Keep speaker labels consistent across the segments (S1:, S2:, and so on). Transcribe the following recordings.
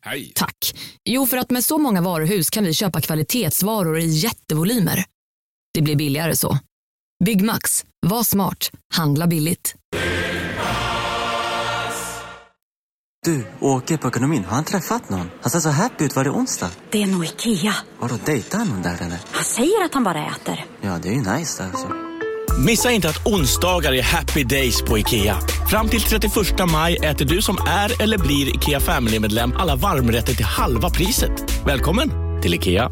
S1: Hej! Tack. Jo, för att med så många varuhus kan vi köpa kvalitetsvaror i jättevolymer. Det blir billigare så. Byggmax. Var smart. Handla billigt.
S2: Du, åker på ekonomin. Har han träffat någon? Han ser så happy ut. Var det onsdag?
S3: Det är nog Ikea.
S2: Har du dejtat någon där eller?
S3: Han säger att han bara äter.
S2: Ja, det är ju nice alltså.
S4: Missa inte att onsdagar är happy days på IKEA. Fram till 31 maj äter du som är eller blir IKEA Family-medlem alla varmrätter till halva priset. Välkommen till IKEA.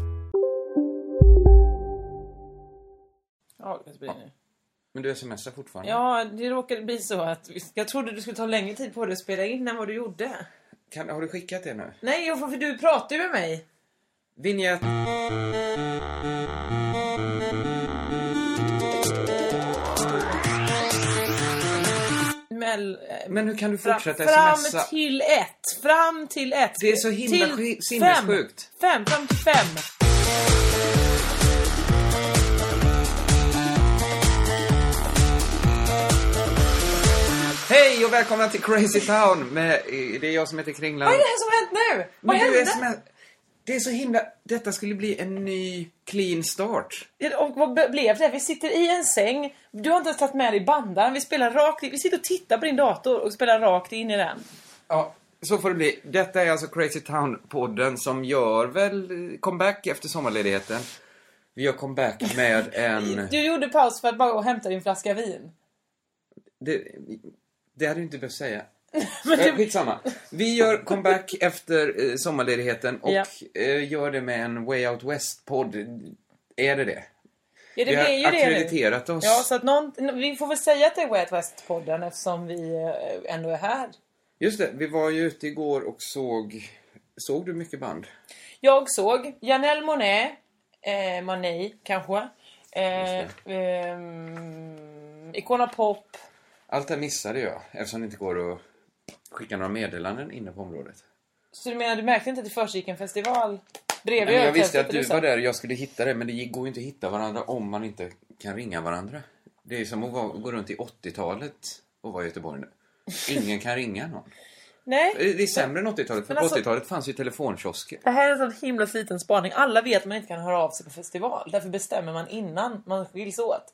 S5: Ja, det blir nu.
S6: Men du smsar fortfarande?
S5: Ja, det råkade bli så att jag trodde du skulle ta längre tid på dig att spela in än vad du gjorde.
S6: Kan, har du skickat det nu?
S5: Nej, jag får- för du pratar ju med mig.
S6: Vinjett!
S5: Mel, eh,
S6: Men hur kan du
S5: fram,
S6: fortsätta
S5: fram
S6: smsa?
S5: till ett. Fram till ett.
S6: Det är så himla sk-
S5: till
S6: sinnessjukt.
S5: Fem, fem, fram till fem.
S6: Hej och välkomna till Crazy Town! Med, eh, det är jag som heter Kringland.
S5: Vad är det här som har hänt nu? Vad
S6: Men du
S5: hände?
S6: SMS det är så himla... Detta skulle bli en ny clean start.
S5: Ja, Och vad be- blev det? Vi sitter i en säng. Du har inte ens tagit med dig bandaren. Vi spelar rakt i- Vi sitter och tittar på din dator och spelar rakt in i den.
S6: Ja, så får det bli. Detta är alltså Crazy Town-podden som gör väl comeback efter sommarledigheten. Vi gör comeback med en...
S5: Du gjorde paus för att bara gå och hämta din flaska vin.
S6: Det, det hade du inte behövt säga.
S5: Men
S6: Eh,
S5: du,
S6: Skitsamma. Vi gör comeback efter eh, sommarledigheten och
S5: Ja.
S6: eh, gör det med en Way Out West-podd. Är det det?
S5: ja, det
S6: vi har
S5: blev ju det nu.
S6: ackrediterat oss.
S5: Ja, så att någon, vi får väl säga att det är Way Out West-podden eftersom vi eh, ändå är här.
S6: Just det, vi var ju ute igår och såg... Såg du mycket band?
S5: Jag såg Janelle Monet, eh, Monet kanske, eh,
S6: Just
S5: ehm, Icona Pop.
S6: Allt det här missade jag eftersom det inte går att skicka några meddelanden inne på området.
S5: Så du menar, du märkte inte att det försiggick en festival
S6: Nej,
S5: bredvid
S6: men jag
S5: öltältet
S6: visste att du
S5: liksom?
S6: var där och jag skulle hitta det men det går ju inte att hitta varandra om man inte kan ringa varandra. Det är ju som att vara- gå runt i 80-talet och vara i Göteborg nu. Ingen kan ringa någon. Eh,
S5: Nej.
S6: Det är sämre än 80-talet, för
S5: Men alltså-
S6: på 80-talet fanns ju telefonkiosker.
S5: Det här är en sån himla sliten spaning. Alla vet att man inte kan höra av sig på festival. Därför bestämmer man innan man skiljs åt.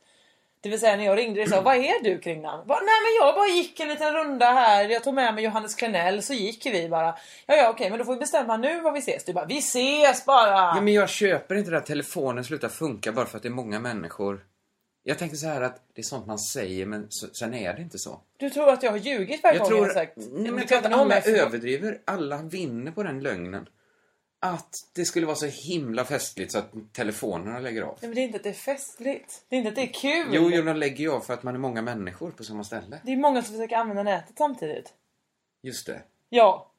S5: Det vill säga när jag ringde dig sa vad är du kring namn? Bara, Nej men jag bara gick en liten runda här. Jag tog med mig Johannes Klenell så gick vi bara. Ja ja okej men då får vi bestämma nu var vi ses. Du bara vi ses bara.
S6: Ja, men jag köper inte det att telefonen slutar funka bara för att det är många människor. Jag tänker så här att det är sånt man säger, men så, sen är det inte så.
S5: Du tror att jag har ljugit varje
S6: Jag
S5: gång jag har
S6: tror,
S5: sagt.
S6: nej,
S5: Du
S6: men jag
S5: kan
S6: tror att
S5: inte ha
S6: alla
S5: mig för-
S6: överdriver. Alla vinner på den lögnen. Att det skulle vara så himla festligt så att telefonerna lägger av.
S5: Nej men det är inte att det är festligt. Det är inte att det är kul.
S6: Jo, jo, de lägger ju av för att man är många människor på samma ställe.
S5: Det är många som försöker använda nätet samtidigt.
S6: Just det.
S5: Ja.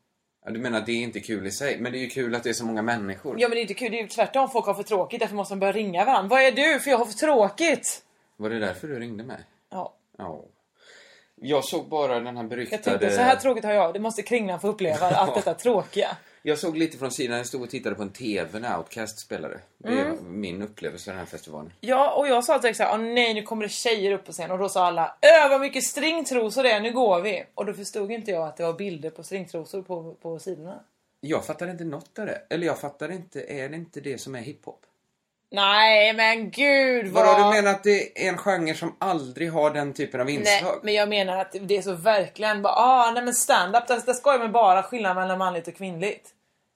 S6: Ja, du menar att det är inte kul i sig, men det är ju kul att det är så många människor.
S5: Ja men det är inte kul, det är ju tvärtom. Folk har för tråkigt, därför måste de börja ringa varandra. Vad är du? För jag har för tråkigt!
S6: Var det därför du ringde mig?
S5: Ja.
S6: Ja. Jag såg bara den här
S5: Jag
S6: beryktade...
S5: tänkte, så här tråkigt har jag. Det måste Kringlan få uppleva, allt detta tråkiga.
S6: Jag såg lite från sidan, jag stod och tittade på en TV när Outcast spelade. Det är
S5: Mm.
S6: min upplevelse av den här festivalen.
S5: Ja, och jag sa direkt såhär, åh nej nu kommer det tjejer upp på scen. Och då sa alla, öh vad mycket stringtrosor det är, nu går vi! Och då förstod inte jag att det var bilder på stringtrosor på, på sidorna.
S6: Jag fattar inte något av det. Eller jag fattar inte, är det inte det som är hiphop?
S5: Nej men gud vad...
S6: Vadå, du menar att det är en genre som aldrig har den typen av
S5: Nej,
S6: inslag?
S5: men jag menar att det är så verkligen bara, ah, nej men stand-up, där, där skojar man bara skillnad mellan manligt och kvinnligt.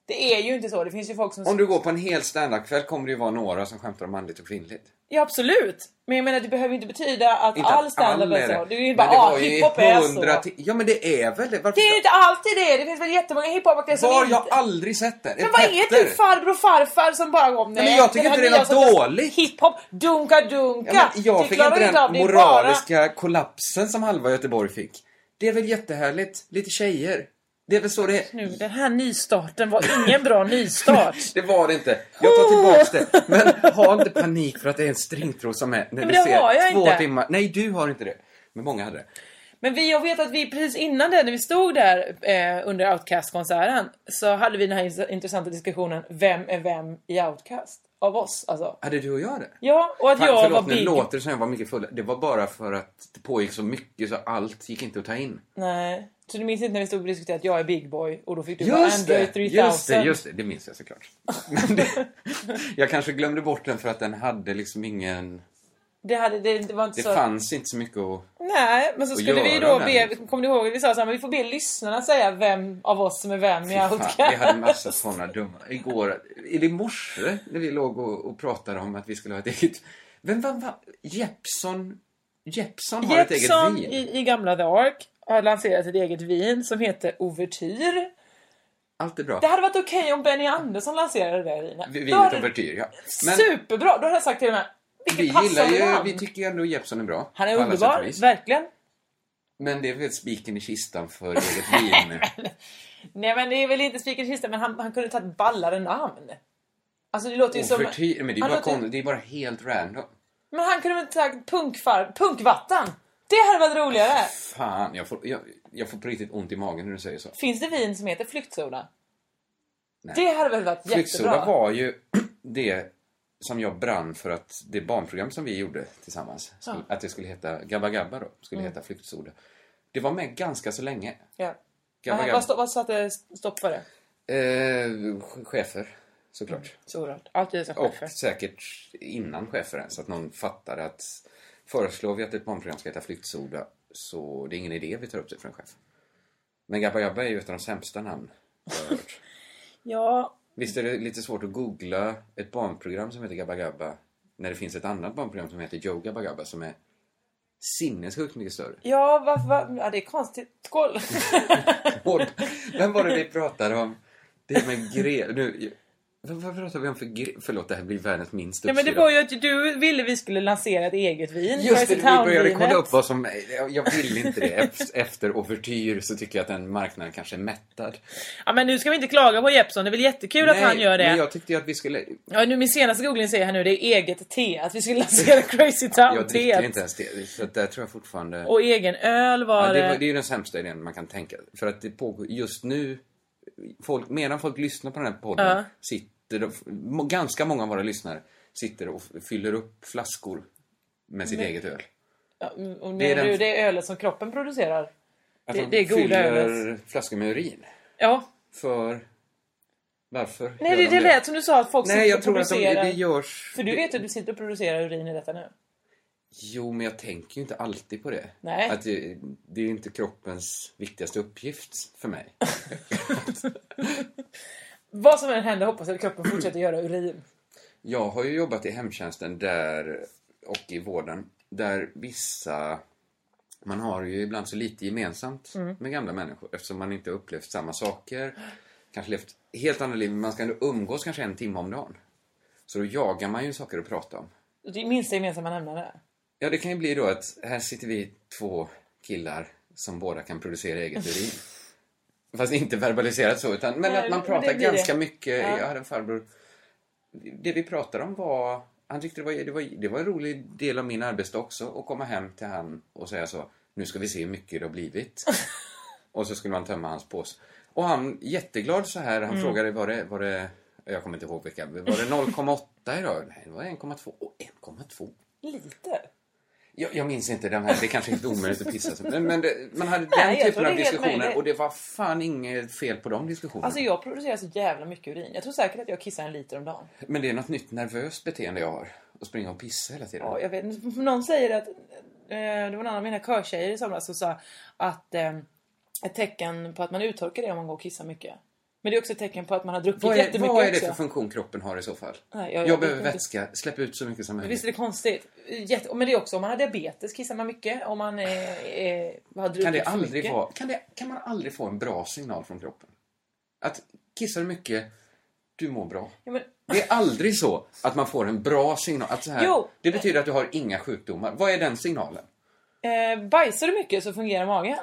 S5: Det är ju inte så, det finns ju folk som...
S6: Om du går på en hel standupkväll kommer det ju vara några som skämtar om manligt och kvinnligt.
S5: Ja absolut! Men jag menar det behöver inte betyda att
S6: Inte
S5: all standup
S6: alla
S5: är så. Det är ju
S6: Men
S5: bara
S6: det
S5: ah,
S6: var ju
S5: hiphop är så.
S6: hundra ti- Ja men det är väl det?
S5: Det
S6: Varför
S5: är ju inte alltid det! Det finns väl jättemånga hiphopare som
S6: Var
S5: inte...
S6: jag aldrig sett det?
S5: Men vad är
S6: Petter.
S5: du farbror och farfar som bara går
S6: men jag tycker inte det är något dåligt."
S5: Hiphop, dunka dunka!
S6: Ja, men jag
S5: Du
S6: fick
S5: klarar
S6: inte den
S5: av det, det är
S6: moraliska kollapsen som halva Göteborg fick. Det är väl jättehärligt? Lite tjejer. Det är väl så det är.
S5: Nu, den här nystarten var ingen bra nystart.
S6: Det var det inte. Jag tar tillbaks det. Men ha inte panik för att det är en stringtråd som är när
S5: Men
S6: vi
S5: det
S6: ser
S5: har jag
S6: två
S5: inte.
S6: timmar. Nej, du har inte det. Men många hade det.
S5: Men vi, jag vet att vi precis innan det, när vi stod där eh, under Outcast-konserten, så hade vi den här ins- intressanta diskussionen, vem är vem i Outcast? Av oss alltså.
S6: Hade du och jag det?
S5: Ja, och att
S6: Fan,
S5: jag
S6: förlåt,
S5: var
S6: nu
S5: big.
S6: låter det som jag var mycket full. Det var bara för att det pågick så mycket så allt gick inte att ta in.
S5: Nej. Så du minns inte när vi stod och diskuterade att jag är big boy och då fick du bara
S6: Just
S5: Android
S6: det,
S5: 3000?
S6: just det, just det, det minns jag såklart. Men det, jag kanske glömde bort den för att den hade liksom ingen...
S5: Det, hade, det, det var inte
S6: Det
S5: så...
S6: fanns inte så mycket att...
S5: Nej, men så
S6: Och
S5: skulle vi
S6: göra
S5: då
S6: den.
S5: be, kommer du ihåg, vi sa så här, men vi får be lyssnarna säga vem av oss som är vem i
S6: Fan, vi hade
S5: Outcast.
S6: massa sådana dumma... Igår, i det morse, när vi låg och, och pratade om att vi skulle ha ett eget... Vem var... var Jeppson... Jeppson har
S5: Jeppson
S6: ett eget vin.
S5: i, i gamla The Ark har lanserat ett eget vin som heter Overtyr.
S6: Allt är bra.
S5: Det hade varit okej om Benny Andersson lanserade det vinet.
S6: Vi-
S5: Då
S6: Vinet
S5: hade-
S6: Overtyr, ja. Men
S5: Superbra! Då hade jag sagt till mig,
S6: vi
S5: vilket
S6: gillar
S5: passande
S6: ju...
S5: namn.
S6: Vi tycker ju ändå Jeppson är bra.
S5: Han är
S6: på alla sätt och
S5: underbar,
S6: vis.
S5: verkligen.
S6: Men det är väl spiken i kistan för eget vin.
S5: Nej men det är väl inte spiken i kistan, men han, han kunde tagit ett ballare namn. Alltså det låter ju som...
S6: Overtyr, men det är,
S5: han
S6: bara
S5: låter-
S6: kon... det är bara helt random.
S5: Men han kunde väl tagit punkfar... punkvatten? Det hade varit roligare!
S6: Fan, jag får, jag, jag får på riktigt ont i magen när du säger så.
S5: Finns det vin som heter flyktsoda? Det hade väl varit
S6: Flyktsoda
S5: jättebra?
S6: var ju det som jag brann för att det barnprogram som vi gjorde tillsammans, skulle, att det skulle heta Gabba Gabba då, skulle heta Flyktsoda. Det var med ganska så länge.
S5: Mm. Ja.
S6: Gabba
S5: Nej,
S6: Gabba.
S5: Vad, stå, vad satte stopp för det?
S6: Eh, ch- chefer, såklart.
S5: Sorad. Alltid så
S6: Och
S5: chefer.
S6: säkert innan chefer ens, att någon fattade att föreslår vi att ett barnprogram ska heta Flyktsoda så det är ingen idé vi tar upp det för en chef. Men Gabba Gabba är ju ett av de sämsta namn jag har hört.
S5: Ja,
S6: Visst är det lite svårt att googla ett barnprogram som heter Gabba Gabba när det finns ett annat barnprogram som heter Joe Gabba Gabba som är sinnessjukt mycket större.
S5: ja, varför, var, ja det är konstigt. Skål!
S6: Och vem var det vi pratade om? Det med gre... Nu, vad, vad pratade vi om för gre... Förlåt, det här blir världens minst
S5: Nej men det
S6: uppstyrda.
S5: var ju att du ville vi skulle lansera ett eget vin.
S6: Just det, vi började
S5: Chinatown-vinet.
S6: kolla upp vad som... jag- Jag vill inte det. Ef- Efter Overtyr så tycker jag att den marknaden kanske är mättad.
S5: Ja men nu ska vi inte klaga på Jeppson, det är väl jättekul att han gör det.
S6: men jag tyckte ju att vi skulle...
S5: Ja nu min senaste googling säger här nu, det är eget te. Att vi skulle lansera Crazy Town
S6: Jag dricker
S5: teet.
S6: inte ens det. Så att där tror jag fortfarande...
S5: Och egen öl var
S6: Ja, det,
S5: det.
S6: var- det är ju den sämsta idén man kan tänka. För att det pågår just nu, folk, medan folk lyssnar på den här podden,
S5: Ja.
S6: sitter och, må- ganska många av våra lyssnare sitter och f- fyller upp flaskor med sitt eget öl.
S5: Ja, Mm, och
S6: det är
S5: menar
S6: den-
S5: du det är ölet som kroppen producerar?
S6: Att
S5: Det-
S6: de
S5: det är goda
S6: Alltså, fyller
S5: ölet.
S6: flaskor med urin.
S5: Ja.
S6: För... Varför?
S5: Nej
S6: gör
S5: det,
S6: de
S5: det lät som du sa att folk
S6: Nej,
S5: sitter
S6: jag
S5: och
S6: tror att de,
S5: producerar.
S6: det görs...
S5: För du
S6: det-
S5: vet att du sitter och producerar urin i detta nu.
S6: Jo, men jag tänker ju inte alltid på det.
S5: Nej.
S6: Att det, det är ju inte kroppens viktigaste uppgift för mig.
S5: Vad som än händer hoppas jag att kroppen fortsätter göra urin.
S6: Jag har ju jobbat i hemtjänsten där och i vården där vissa... Man har ju ibland så lite gemensamt
S5: Mm.
S6: med gamla människor eftersom man inte har upplevt samma saker. Kanske levt helt andra liv, men man ska ändå umgås kanske en timme om dagen. Så då jagar man ju saker att prata om.
S5: Det är minsta gemensamma nämnare.
S6: Ja, det kan ju bli då att här sitter vi två killar som båda kan producera eget urin. Fast inte verbaliserat så, utan men
S5: Nej,
S6: att man
S5: men
S6: pratar
S5: det blir det.
S6: ganska mycket.
S5: Ja.
S6: Jag hade en farbror. Det vi pratade om var, han tyckte det var, det, var, det var en rolig del av min arbetsdag också att komma hem till han och säga så, nu ska vi se hur mycket det har blivit. och så skulle man tömma hans påse. Och han, jätteglad så här, han
S5: Mm.
S6: frågade var det, var det, jag kommer inte ihåg vilka, var det 0,8 idag? Nej, det var 1,2. Och 1,2.
S5: Lite.
S6: Jag, jag minns inte den här, det kanske är helt omöjligt att pissa sig. Men, men det, man hade den
S5: Nej, jag tror
S6: typen
S5: det
S6: av
S5: är helt
S6: diskussioner
S5: möjligt.
S6: och det var fan inget fel på de diskussionerna.
S5: Alltså jag producerar så jävla mycket urin. Jag tror säkert att jag kissar en liter om dagen.
S6: Men det är något nytt nervöst beteende jag har. Att springa och pissa hela tiden.
S5: Ja, jag vet, inte. någon säger att, eh, det var en annan av mina körtjejer i somras som sa att eh, ett tecken på att man är uttorkad är om man går och kissar mycket. Men det är också ett tecken på att man har druckit
S6: vad, är,
S5: jättemycket
S6: vad är det
S5: också.
S6: för funktion kroppen har i så fall?
S5: Nej, jag-
S6: jag,
S5: jag
S6: behöver
S5: vet inte.
S6: vätska, släpp ut så mycket som möjligt.
S5: Visst är det konstigt? Jätte... Men det är också om man har diabetes kissar man mycket. Om man eh, eh, har druckit
S6: kan, det
S5: för
S6: aldrig
S5: mycket.
S6: vara, kan, det, kan man aldrig få en bra signal från kroppen? Att kissar du mycket, du mår bra.
S5: Ja, men,
S6: Det är aldrig så att man får en bra signal. Att så här,
S5: Jo.
S6: Det betyder att du har inga sjukdomar. Vad är den signalen?
S5: eh, bajsar du mycket så fungerar magen.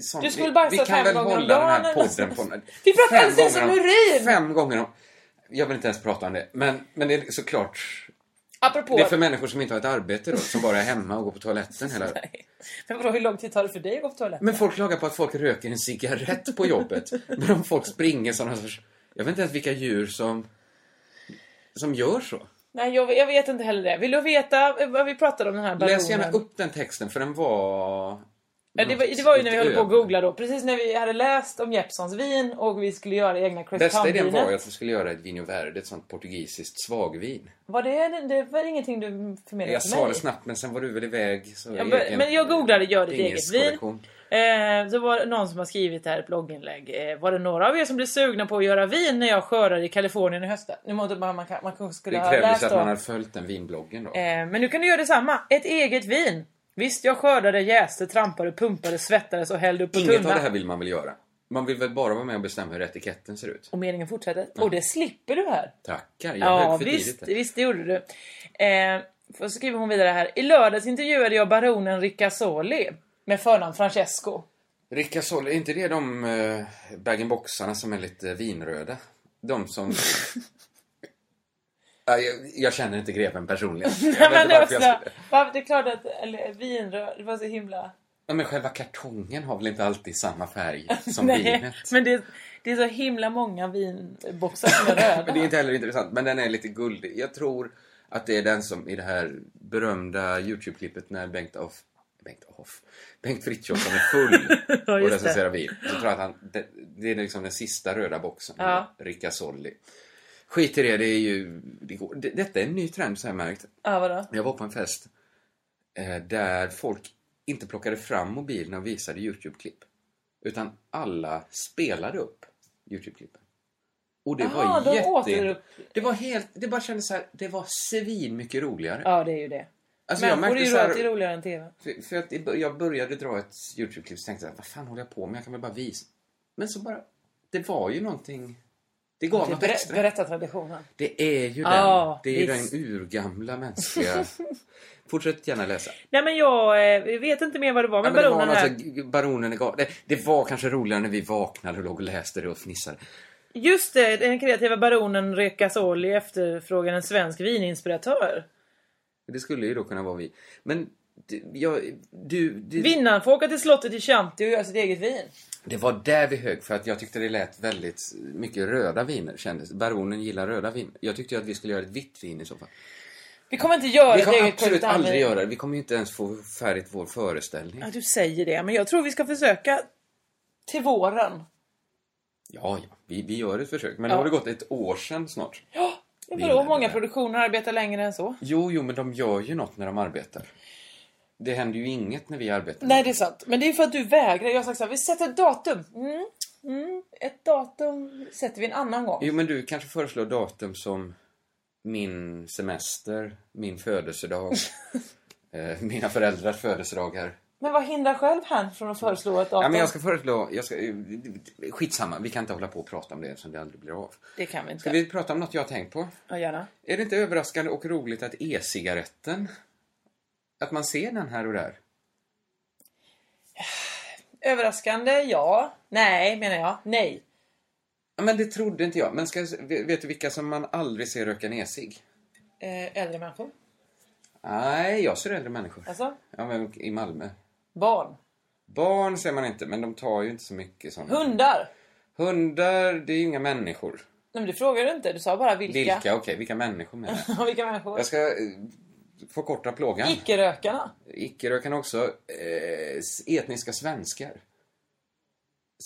S6: Sånt,
S5: Du skulle
S6: vi-
S5: bajsa
S6: vi kan
S5: fem
S6: väl
S5: gånger om
S6: hålla den
S5: dagen
S6: här
S5: eller
S6: podden på...
S5: något sånt. Vi pratar
S6: Fem
S5: alldeles
S6: gånger
S5: om
S6: om-
S5: urin.
S6: Fem gånger om... Jag vill inte ens prata om det. Men, men det är såklart...
S5: Apropå...
S6: Det är för människor som inte har ett arbete då, som bara är hemma och går på toaletten hela
S5: Nej. Men vadå, hur lång tid tar det för dig att gå på toaletten?
S6: Men folk klagar på att folk röker en cigarett på jobbet. men om folk springer sådana sorts... Jag vet inte ens vilka djur som... Som gör så.
S5: Nej, jag, jag vet inte heller det. Vill du veta vad vi pratade om den här ballonen?
S6: Läs gärna upp den texten för den var...
S5: Ja, det, var, det var ju när vi höll på att googla då. Precis när vi hade läst om Jeppsons vin och vi skulle göra egna Chris
S6: Bästa idén var ju
S5: Town-vinet.
S6: att vi skulle göra ett Vinho Verde, ett sånt portugisiskt svagvin.
S5: Var det, det var ingenting du förmedlade
S6: Jag
S5: till
S6: sa
S5: mig?
S6: det snabbt men sen var du väl iväg. Så
S5: Ja, men- men jag googlade gör ditt
S6: Ingen
S5: eget vin.
S6: korrektion.
S5: Eh, så var det någon som har skrivit det här i ett blogginlägg. Eh, var det några av er som blev sugna på att göra vin när jag skördade i Kalifornien i höstas? Nu måste man, man, kan- man kanske skulle
S6: Det
S5: ha
S6: krävdes
S5: läst
S6: att
S5: om.
S6: man hade följt den vinbloggen då.
S5: Eh, men nu kan du göra detsamma. Ett eget vin. Visst, jag skördade, jäste, trampade, pumpade, svettades och hällde upp på
S6: Inget av
S5: tunna.
S6: det här vill man väl göra? Man vill väl bara vara med och bestämma hur etiketten ser ut?
S5: Och meningen fortsätter. Och det slipper du här.
S6: Tackar, jag
S5: Ja,
S6: högg för
S5: visst,
S6: tidigt. där.
S5: visst det gjorde du. Eh, för så skriver hon vidare här. I lördags intervjuade jag baronen Ricasoli med förnamn Francesco.
S6: Ricasol, är inte det de uh, bag-in-boxarna som är lite vinröda? De som... Ja, jag, jag känner inte greven personligen. Jag vet
S5: Nej, men
S6: inte
S5: det,
S6: varför jag
S5: också,
S6: skulle-
S5: varför, det är klart att eller, vinröd, det var så himla...
S6: Ja, men själva kartongen har väl inte alltid samma färg som
S5: Nej,
S6: vinet?
S5: men det, det är så himla många vinboxar som är röda.
S6: Men det är inte heller intressant, men den är lite guldig. Jag tror att det är den som i det här berömda Youtube-klippet när Bengt Off Bengt Off. Bengt Frithiofsson är full
S5: Ja,
S6: och
S5: just det.
S6: recenserar vin. Så tror jag att han, det, det är liksom den sista röda boxen.
S5: Ja.
S6: Ricasoli. Skit i det, det är ju... Det går, det, detta är en ny trend så jag märkt.
S5: Ja, vadå?
S6: Jag var på en fest eh, där folk inte plockade fram mobilerna och visade Youtube-klipp. Utan alla spelade upp Youtube-klippen. Och det
S5: Ah, de
S6: var jätte...
S5: återupp-
S6: Det var helt... Det bara kändes så här, det var svin mycket roligare.
S5: Ja, det är ju det.
S6: Alltså, jag
S5: Människor är
S6: märkte
S5: ju
S6: så
S5: alltid
S6: här,
S5: roligare än TV.
S6: för, för att i bör- jag började dra ett Youtube-klipp så tänkte jag, vad fan håller jag på med? Jag kan väl bara visa. Men så bara, det var ju någonting... Det gav något
S5: Ber,
S6: extra.
S5: Typ, berätta traditionen.
S6: Det är ju den,
S5: Ja,
S6: det är ju den
S5: visst.
S6: urgamla mänskliga... Fortsätt gärna läsa.
S5: Nej men jag eh, vet inte mer vad det var
S6: Ja,
S5: med
S6: men det var
S5: baronen
S6: något
S5: här.
S6: så- baronen är galen. Det, det var kanske roligare när vi vaknade och låg och läste det och fnissade.
S5: Just det, den kreativa baronen Rekasoli efterfrågar en svensk vininspiratör.
S6: Det skulle ju då kunna vara vi. Men det, jag, du, det,
S5: Vinnaren får åka till slottet i Chianti och göra sitt eget vin.
S6: det var där vi högg för att jag tyckte det lät väldigt mycket röda viner kändes. Baronen gillar röda viner. Jag tyckte ju att vi skulle göra ett vitt vin i så fall.
S5: Vi kommer inte göra
S6: Vi
S5: ett
S6: kommer
S5: eget
S6: absolut
S5: Kurt Allen.
S6: aldrig göra det. Vi kommer ju inte ens få färdigt vår föreställning.
S5: Ja, du säger det, men jag tror vi ska försöka till våren.
S6: Ja, ja. Vi, vi gör ett försök. Men
S5: Ja.
S6: nu har det gått ett år sedan snart.
S5: Ja,
S6: Vinner
S5: Vadå,
S6: det
S5: många
S6: där.
S5: produktioner arbetar längre än så?
S6: Jo, jo, men de gör ju något när de arbetar. Det händer ju inget när vi arbetar.
S5: Nej, det är sant. Men det är för att du vägrar. Jag har sagt så här, vi sätter ett datum. Mm. Mm. Ett datum sätter vi en annan gång.
S6: Jo, men du kanske föreslår datum som min semester, min födelsedag, eh, mina föräldrars födelsedagar.
S5: Men vad hindrar själv han från att föreslå ett datum?
S6: Ja, men jag ska föreslå... Jag ska, eh, skitsamma, vi kan inte hålla på och prata om det eftersom det aldrig blir av.
S5: Det kan vi inte.
S6: Ska vi prata om något jag har tänkt på?
S5: Ja, gärna.
S6: Är det inte överraskande och roligt att e-cigaretten, att man ser den här och där?
S5: Överraskande, ja. Nej, menar jag. Nej.
S6: Ja, men det trodde inte jag. Men ska, vet du vilka som man aldrig ser röka en e-cigg?
S5: Eh, äldre människor.
S6: Nej, jag ser äldre människor.
S5: Alltså,
S6: Ja, men i Malmö.
S5: barn.
S6: Barn ser man inte, men de tar ju inte så mycket sådana.
S5: Hundar.
S6: Hundar, det är ju inga människor.
S5: Nej, men du frågade inte. Du sa bara vilka.
S6: Vilka? Okej, vilka människor menar jag?
S5: Ja, vilka människor?
S6: Jag ska eh, förkorta plågan.
S5: Icke-rökarna.
S6: Icke-rökarna också. Eh, s- etniska svenskar.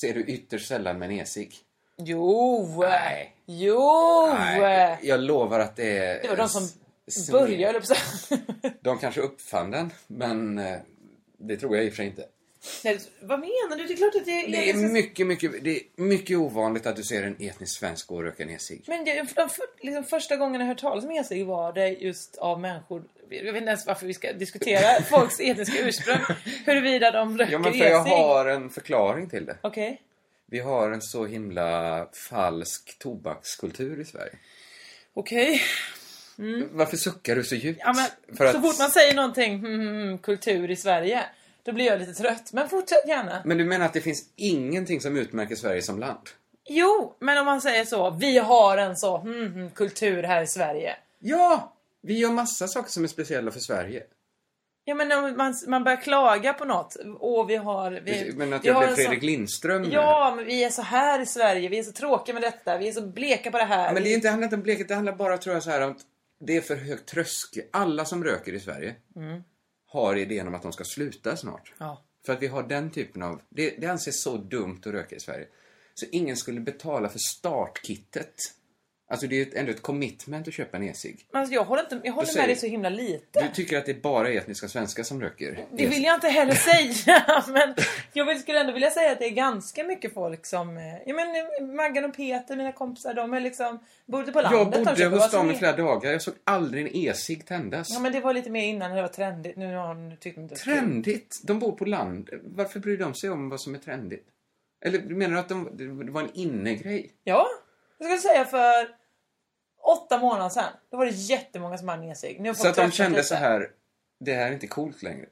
S6: Ser du ytterst sällan med en esig.
S5: Jo!
S6: Nej.
S5: Jo!
S6: Nej, jag lovar att det är...
S5: Oh. Det var de som
S6: s-
S5: Börja höll jag på att säga.
S6: De kanske uppfann den, men eh, det tror jag i och för sig inte.
S5: Nej, Vad menar du? Det är klart att det är... liksom-
S6: Det är mycket, mycket, det är mycket ovanligt att du ser en etnisk svensk gå och röka en esig.
S5: Men det, de för, liksom första gången jag hört talas om esig var det just av människor... Jag vet inte ens varför vi ska diskutera folks etniska ursprung. Huruvida de röker
S6: Ja, men för
S5: esig.
S6: jag har en förklaring till det.
S5: Okej.
S6: Vi har en så himla falsk tobakskultur i Sverige.
S5: Okej.
S6: Varför suckar du så djupt?
S5: Mm. Ja, men,
S6: För
S5: så
S6: att-
S5: fort man säger någonting, hmm, hmm, hmm, kultur i Sverige, Då blir jag lite trött. Men fortsätt gärna.
S6: Men du menar att det finns ingenting som utmärker Sverige som land?
S5: Jo, men om man säger så. Vi har en så mm, mm, kultur här i Sverige.
S6: Ja! Vi gör massa saker som är speciella för Sverige.
S5: Ja men om man, man börjar klaga på något. Åh vi har... Vi,
S6: Men att
S5: vi
S6: jag
S5: har
S6: blev
S5: en sån-
S6: Fredrik Lindström nu.
S5: Ja men vi är så här i Sverige. Vi är så tråkiga med detta. Vi är så bleka på det här.
S6: Ja, Men det är
S5: Vi-
S6: inte, handlar inte om bleket, det handlar bara tror jag så här om att det är för hög tröskel. Alla som röker i Sverige har idén om att de ska sluta snart.
S5: Mm. Ja.
S6: För att vi har den typen av, det, det anses så dumt att röka i Sverige. Så ingen skulle betala för startkittet. Alltså det är ju ett, ändå ett commitment att köpa en e-cigg.
S5: Men alltså, jag håller, inte, jag
S6: Då
S5: håller
S6: säger-
S5: med dig så himla lite.
S6: Du tycker att det bara är etniska svenskar som röker?
S5: Det vill jag inte heller säga. Men jag vill, skulle ändå vilja säga att det är ganska mycket folk som... eh, Ja men eh, Maggan och Peter, mina kompisar, de är liksom... Bodde på landet. alltså,
S6: Jag
S5: de
S6: bodde
S5: köper
S6: hos
S5: vad som
S6: dem i
S5: är-
S6: flera dagar, jag såg aldrig en e-cigg tändas.
S5: Ja men det var lite mer innan när det var trendigt. Nu har nu tyckt inte...
S6: Trendigt? De bor på land. Varför bryr de sig om vad som är trendigt? Eller menar du att de, det var en innegrej?
S5: Ja, jag skulle säga för åtta månader sedan. Då var det jättemånga som hade sig. Nu har
S6: Så
S5: folk
S6: att de
S5: tröttnat
S6: kände
S5: lite.
S6: så här, det här är inte coolt längre.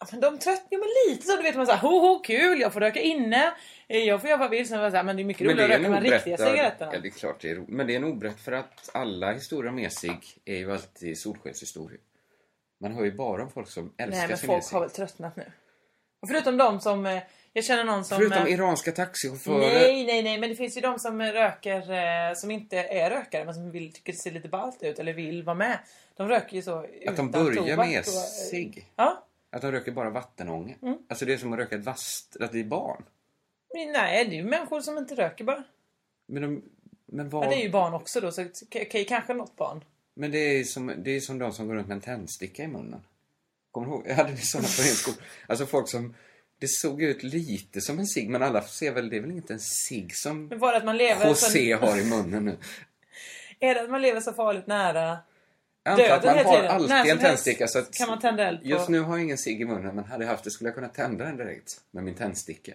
S5: Ja, men de tröttnade men lite så. Du vet man såhär, ho ho kul, jag får röka inne. eh, Jag får göra vad jag vill. Sen var det så här, men det är mycket roligare att röka de här riktiga cigaretterna.
S6: Ja, det är klart det är roligt. Men det är en oberätt för att alla historier om Esig är ju alltid solskenshistorier. Man hör ju bara om folk som
S5: Nej
S6: älskar
S5: men
S6: sin
S5: folk
S6: Esig.
S5: har väl tröttnat nu. Och förutom de som, eh, jag känner någon som...
S6: Förutom
S5: eh,
S6: iranska taxichaufförer.
S5: Nej, nej, nej, men det finns ju de som eh, röker eh, som inte är rökare men som vill, tycker det ser lite ballt ut eller vill vara med. De röker ju så
S6: Att de
S5: utan
S6: börjar
S5: tobak
S6: med
S5: och, eh,
S6: Esig.
S5: Ja,
S6: Att de röker bara vattenånga.
S5: Mm.
S6: Alltså det är som att röka ett vasst... Att det är barn.
S5: Men Nej, det är ju människor som inte röker bara.
S6: Men de... Men vad...
S5: Ja, det är ju barn också då, så k- k- kanske något barn.
S6: Men det är, som, det är som de som går runt med en tändsticka i munnen. Kommer du ihåg? Jag hade ju sådana på min skola. Alltså folk som... Det såg ut lite som en cigg, men alla ser väl, det är väl inte en cigg som
S5: Men var det att man lever, så,
S6: José har i munnen nu.
S5: är det att man lever så farligt nära
S6: Jag antar
S5: döden
S6: att man
S5: hela
S6: har
S5: tiden? När
S6: alltid
S5: som
S6: en tändsticka.
S5: helst
S6: Så att
S5: kan man tända eld på.
S6: Just nu har jag ingen cigg i munnen, men hade jag haft det skulle jag kunna tända den direkt med min tändsticka.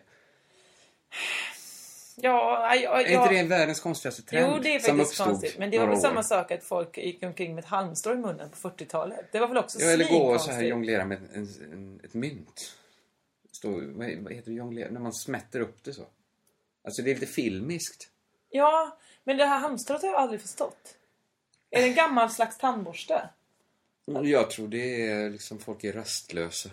S5: Ja, aj, aj,
S6: Är
S5: ja.
S6: inte det världens konstigaste trend
S5: Jo, det är
S6: som
S5: faktiskt
S6: uppstod
S5: konstigt. Men det var
S6: några
S5: väl
S6: år?
S5: samma sak att folk gick omkring med ett halmstrå i munnen på 40-talet. Det var väl också
S6: Ja, eller gå och så här
S5: svinkonstigt.
S6: jonglera med en, en, ett mynt. Stå, vad, vad heter det? Jonglera? När man smätter upp det så. Alltså det är lite filmiskt.
S5: Ja, men det här halmstrået har jag aldrig förstått. Är det en gammal slags tandborste?
S6: Jag tror det är liksom folk är rastlösa.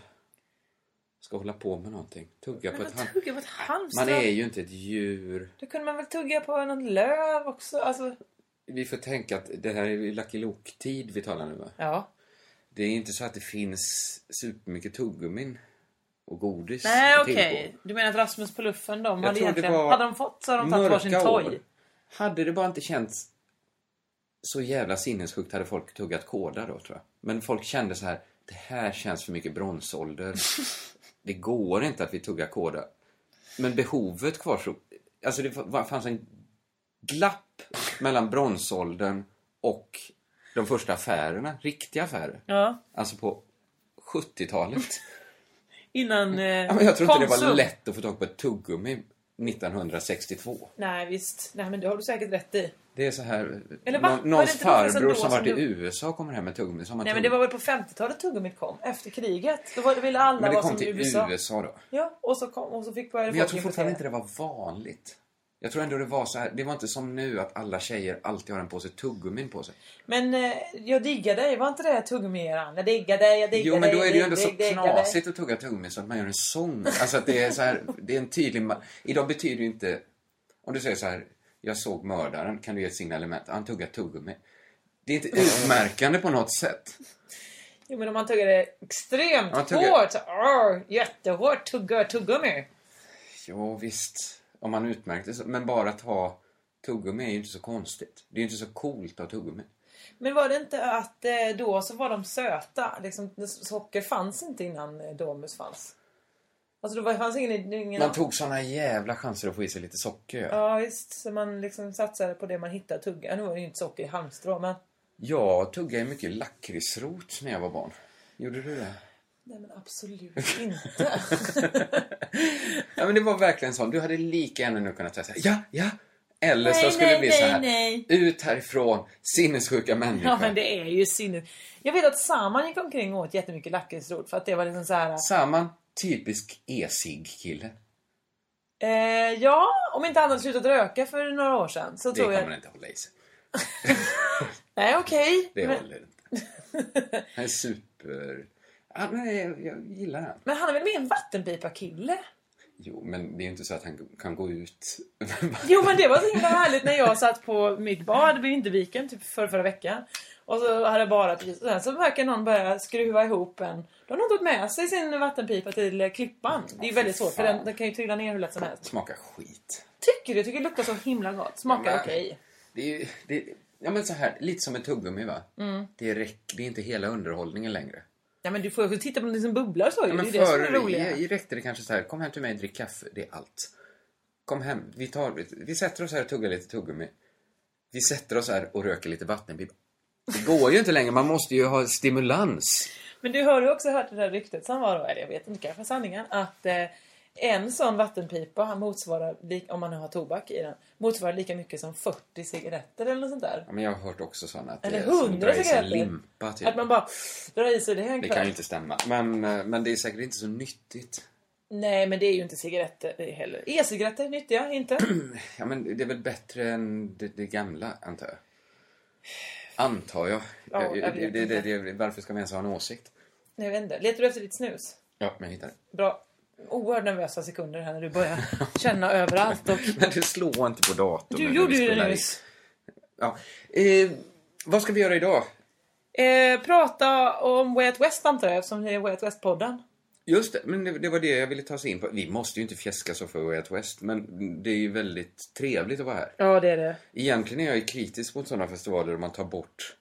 S6: Ska hålla på med någonting. Tugga på
S5: Men
S6: ett
S5: man
S6: hand...
S5: tuggar på ett halmstrå.
S6: Man är ju inte ett djur.
S5: Då kunde man väl tugga på något löv också? Alltså,
S6: Vi får tänka att det här är ju Lucky Luke-tid vi talar nu va?
S5: ja.
S6: Det är inte så att det finns supermycket tuggummin och godis
S5: Nej
S6: att
S5: okej,
S6: tillgå.
S5: du menar att Rasmus på luffen de hade
S6: tror det
S5: egentligen...
S6: var
S5: Hade de fått så hade de tagit varsin
S6: mörka år.
S5: toj.
S6: Hade det bara inte känts så jävla sinnessjukt hade folk tuggat kåda då tror jag. Men folk kände så här, det här känns för mycket bronsålder. det går inte att vi tuggar kåda. Men behovet kvarstod. Alltså det fa- fanns en glapp mellan bronsåldern och de första affärerna, riktiga affärer.
S5: Ja,
S6: Alltså på 70-talet.
S5: innan eh,
S6: Mm. Ja, men jag tror inte det var
S5: Konsum.
S6: lätt att få tag på ett tuggummi 1962.
S5: Nej visst, nej men det har du säkert rätt i.
S6: Det är så här,
S5: Eller va?
S6: nå-
S5: Var det
S6: någons
S5: inte någonstans
S6: farbror
S5: ändå som
S6: som varit
S5: du-
S6: i USA kommer hem med tuggummi. Som har
S5: Nej men det
S6: tuggummi.
S5: var väl på 50-talet tuggummit kom, efter kriget. Då var- då ville alla
S6: men det
S5: vara
S6: kom
S5: som
S6: till
S5: USA.
S6: USA. då.
S5: Ja, och så, kom, och så fick började
S6: Men jag
S5: folk
S6: tror fortfarande inte
S5: importera.
S6: det var vanligt. Jag tror ändå det var så här, det var inte som nu att alla tjejer alltid har en påse tuggummin på sig.
S5: Men eh, jag diggar dig, var inte det tuggummi-eran? Jag diggar dig, jag diggar dig.
S6: Jo men då är det ju
S5: dig,
S6: ändå så
S5: dig, diggar dig.
S6: knasigt att tugga tuggummi så att man gör en sång. Alltså att det är så här, det är en tydlig... ma- Idag betyder ju inte... Om du säger så här, jag såg mördaren, kan du ge ett signalement? Han tuggar tuggummi. Det är inte utmärkande på något sätt.
S5: Jo men om man tuggar det extremt
S6: Ja, tuggar.
S5: hårt, så, arr, jättehårt tugga tuggummi.
S6: Ja, visst. Om man utmärkte sig. Men bara att ha tuggummi är ju inte så konstigt. Det är ju inte så coolt att ha tuggummi.
S5: Men var det inte att eh, då så var de söta? Liksom, socker fanns inte innan eh, Domus fanns. Alltså då var- fanns ingen... ingen
S6: Man tog såna jävla chanser att få i sig lite socker. Ja,
S5: Ja visst, så man liksom satsade på det man hittade och tuggade. Nu var det ju inte socker i halmstrå men...
S6: Jag tuggade ju mycket lakritsrot när jag var barn. Gjorde du det?
S5: Nej men absolut inte.
S6: Ja, men det var verkligen sån. Du hade lika gärna nu kunnat säga så här, ja, ja. Eller så
S5: Nej,
S6: skulle det
S5: nej,
S6: bli
S5: nej,
S6: så här,
S5: nej.
S6: ut härifrån, sinnessjuka människor.
S5: ja men det är ju sinnet. Jag vet att Saman gick omkring och åt jättemycket lakritsrot för att det var liksom så här.
S6: Saman, Typisk e-cigg-kille.
S5: Eh, ja, om inte han hade slutat röka för några år sedan så
S6: Det
S5: tror
S6: kan
S5: jag...
S6: man inte hålla i sig.
S5: Nej, okej.
S6: Det
S5: Men,
S6: håller inte. Han är super... Ja, men jag, jag gillar han.
S5: men han är väl mer en vattenpipa-kille?
S6: Jo, men det är ju inte så att han kan gå ut.
S5: Jo men det var så himla härligt när jag satt på mitt bad vid Vinterviken typ för förra veckan. Och så hade jag badat precis. Sen så verkar någon börja skruva ihop en. Då har någon tagit med sig sin vattenpipa till klippan. Det är ju väldigt svårt för den, den kan ju trilla ner hur lätt som helst.
S6: Smakar skit.
S5: Tycker du? Jag tycker det luktar så himla gott. Smakar
S6: Men-
S5: okej.
S6: Det är ju... Det, ja, men så här. Lite som ett tuggummi, va?
S5: Mm.
S6: Det, räcker, det är inte hela underhållningen längre.
S5: Ja men du får ju också titta på någonting som bubblar så ju.
S6: Ja, men
S5: det är det som är
S6: förr
S5: det roliga.
S6: i- i räckte det kanske så här. Kom hem till mig och drick kaffe. Det är allt. Kom hem. Vi, tar, vi sätter oss här och tuggar lite tuggummi. Vi sätter oss här och röker lite vattenpipa. Det går ju inte längre. Man måste ju ha stimulans.
S5: Men du har ju också hört det där ryktet som var då, eller jag vet inte kanske sanningen, att eh, en sån vattenpipa han motsvarar, li- om man nu har tobak i den, motsvarar lika mycket som 40 cigaretter eller något sånt där.
S6: Ja, men jag har hört också sådana. Att
S5: Eller
S6: det är som
S5: hundra
S6: drar i sig en
S5: cigaretter.
S6: limpa, typ.
S5: Att man bara drar i sig det här en
S6: Det
S5: kväll.
S6: kan ju inte stämma. Men, eh, men det är säkert inte så nyttigt.
S5: Nej men det är ju inte cigaretter heller. E-cigaretter nyttiga, inte?
S6: Ja, men det är väl bättre än det, det gamla, antar jag. Antar jag.
S5: Ja, jag vet
S6: det, det,
S5: inte.
S6: det, det, varför ska man ens ha en åsikt?
S5: Nej jag vet inte. Letar du efter ditt snus?
S6: Ja, men jag hittar det.
S5: Bra. Oerhört nervösa sekunder här när du börjar känna överallt och...
S6: Men du slår inte på datorn.
S5: Du
S6: när
S5: gjorde
S6: vi
S5: ju det
S6: spelar in.
S5: nyss.
S6: Ja. Eh, vad ska vi göra idag?
S5: Eh, prata om Way Out West antar jag eftersom det är Way Out West-podden.
S6: Just det, men det, det var det jag ville ta oss in på. Vi måste ju inte fjäska så för Way Out West, men det är ju väldigt trevligt att vara här.
S5: Ja det är det.
S6: Egentligen är jag ju kritisk mot sådana festivaler där man tar bort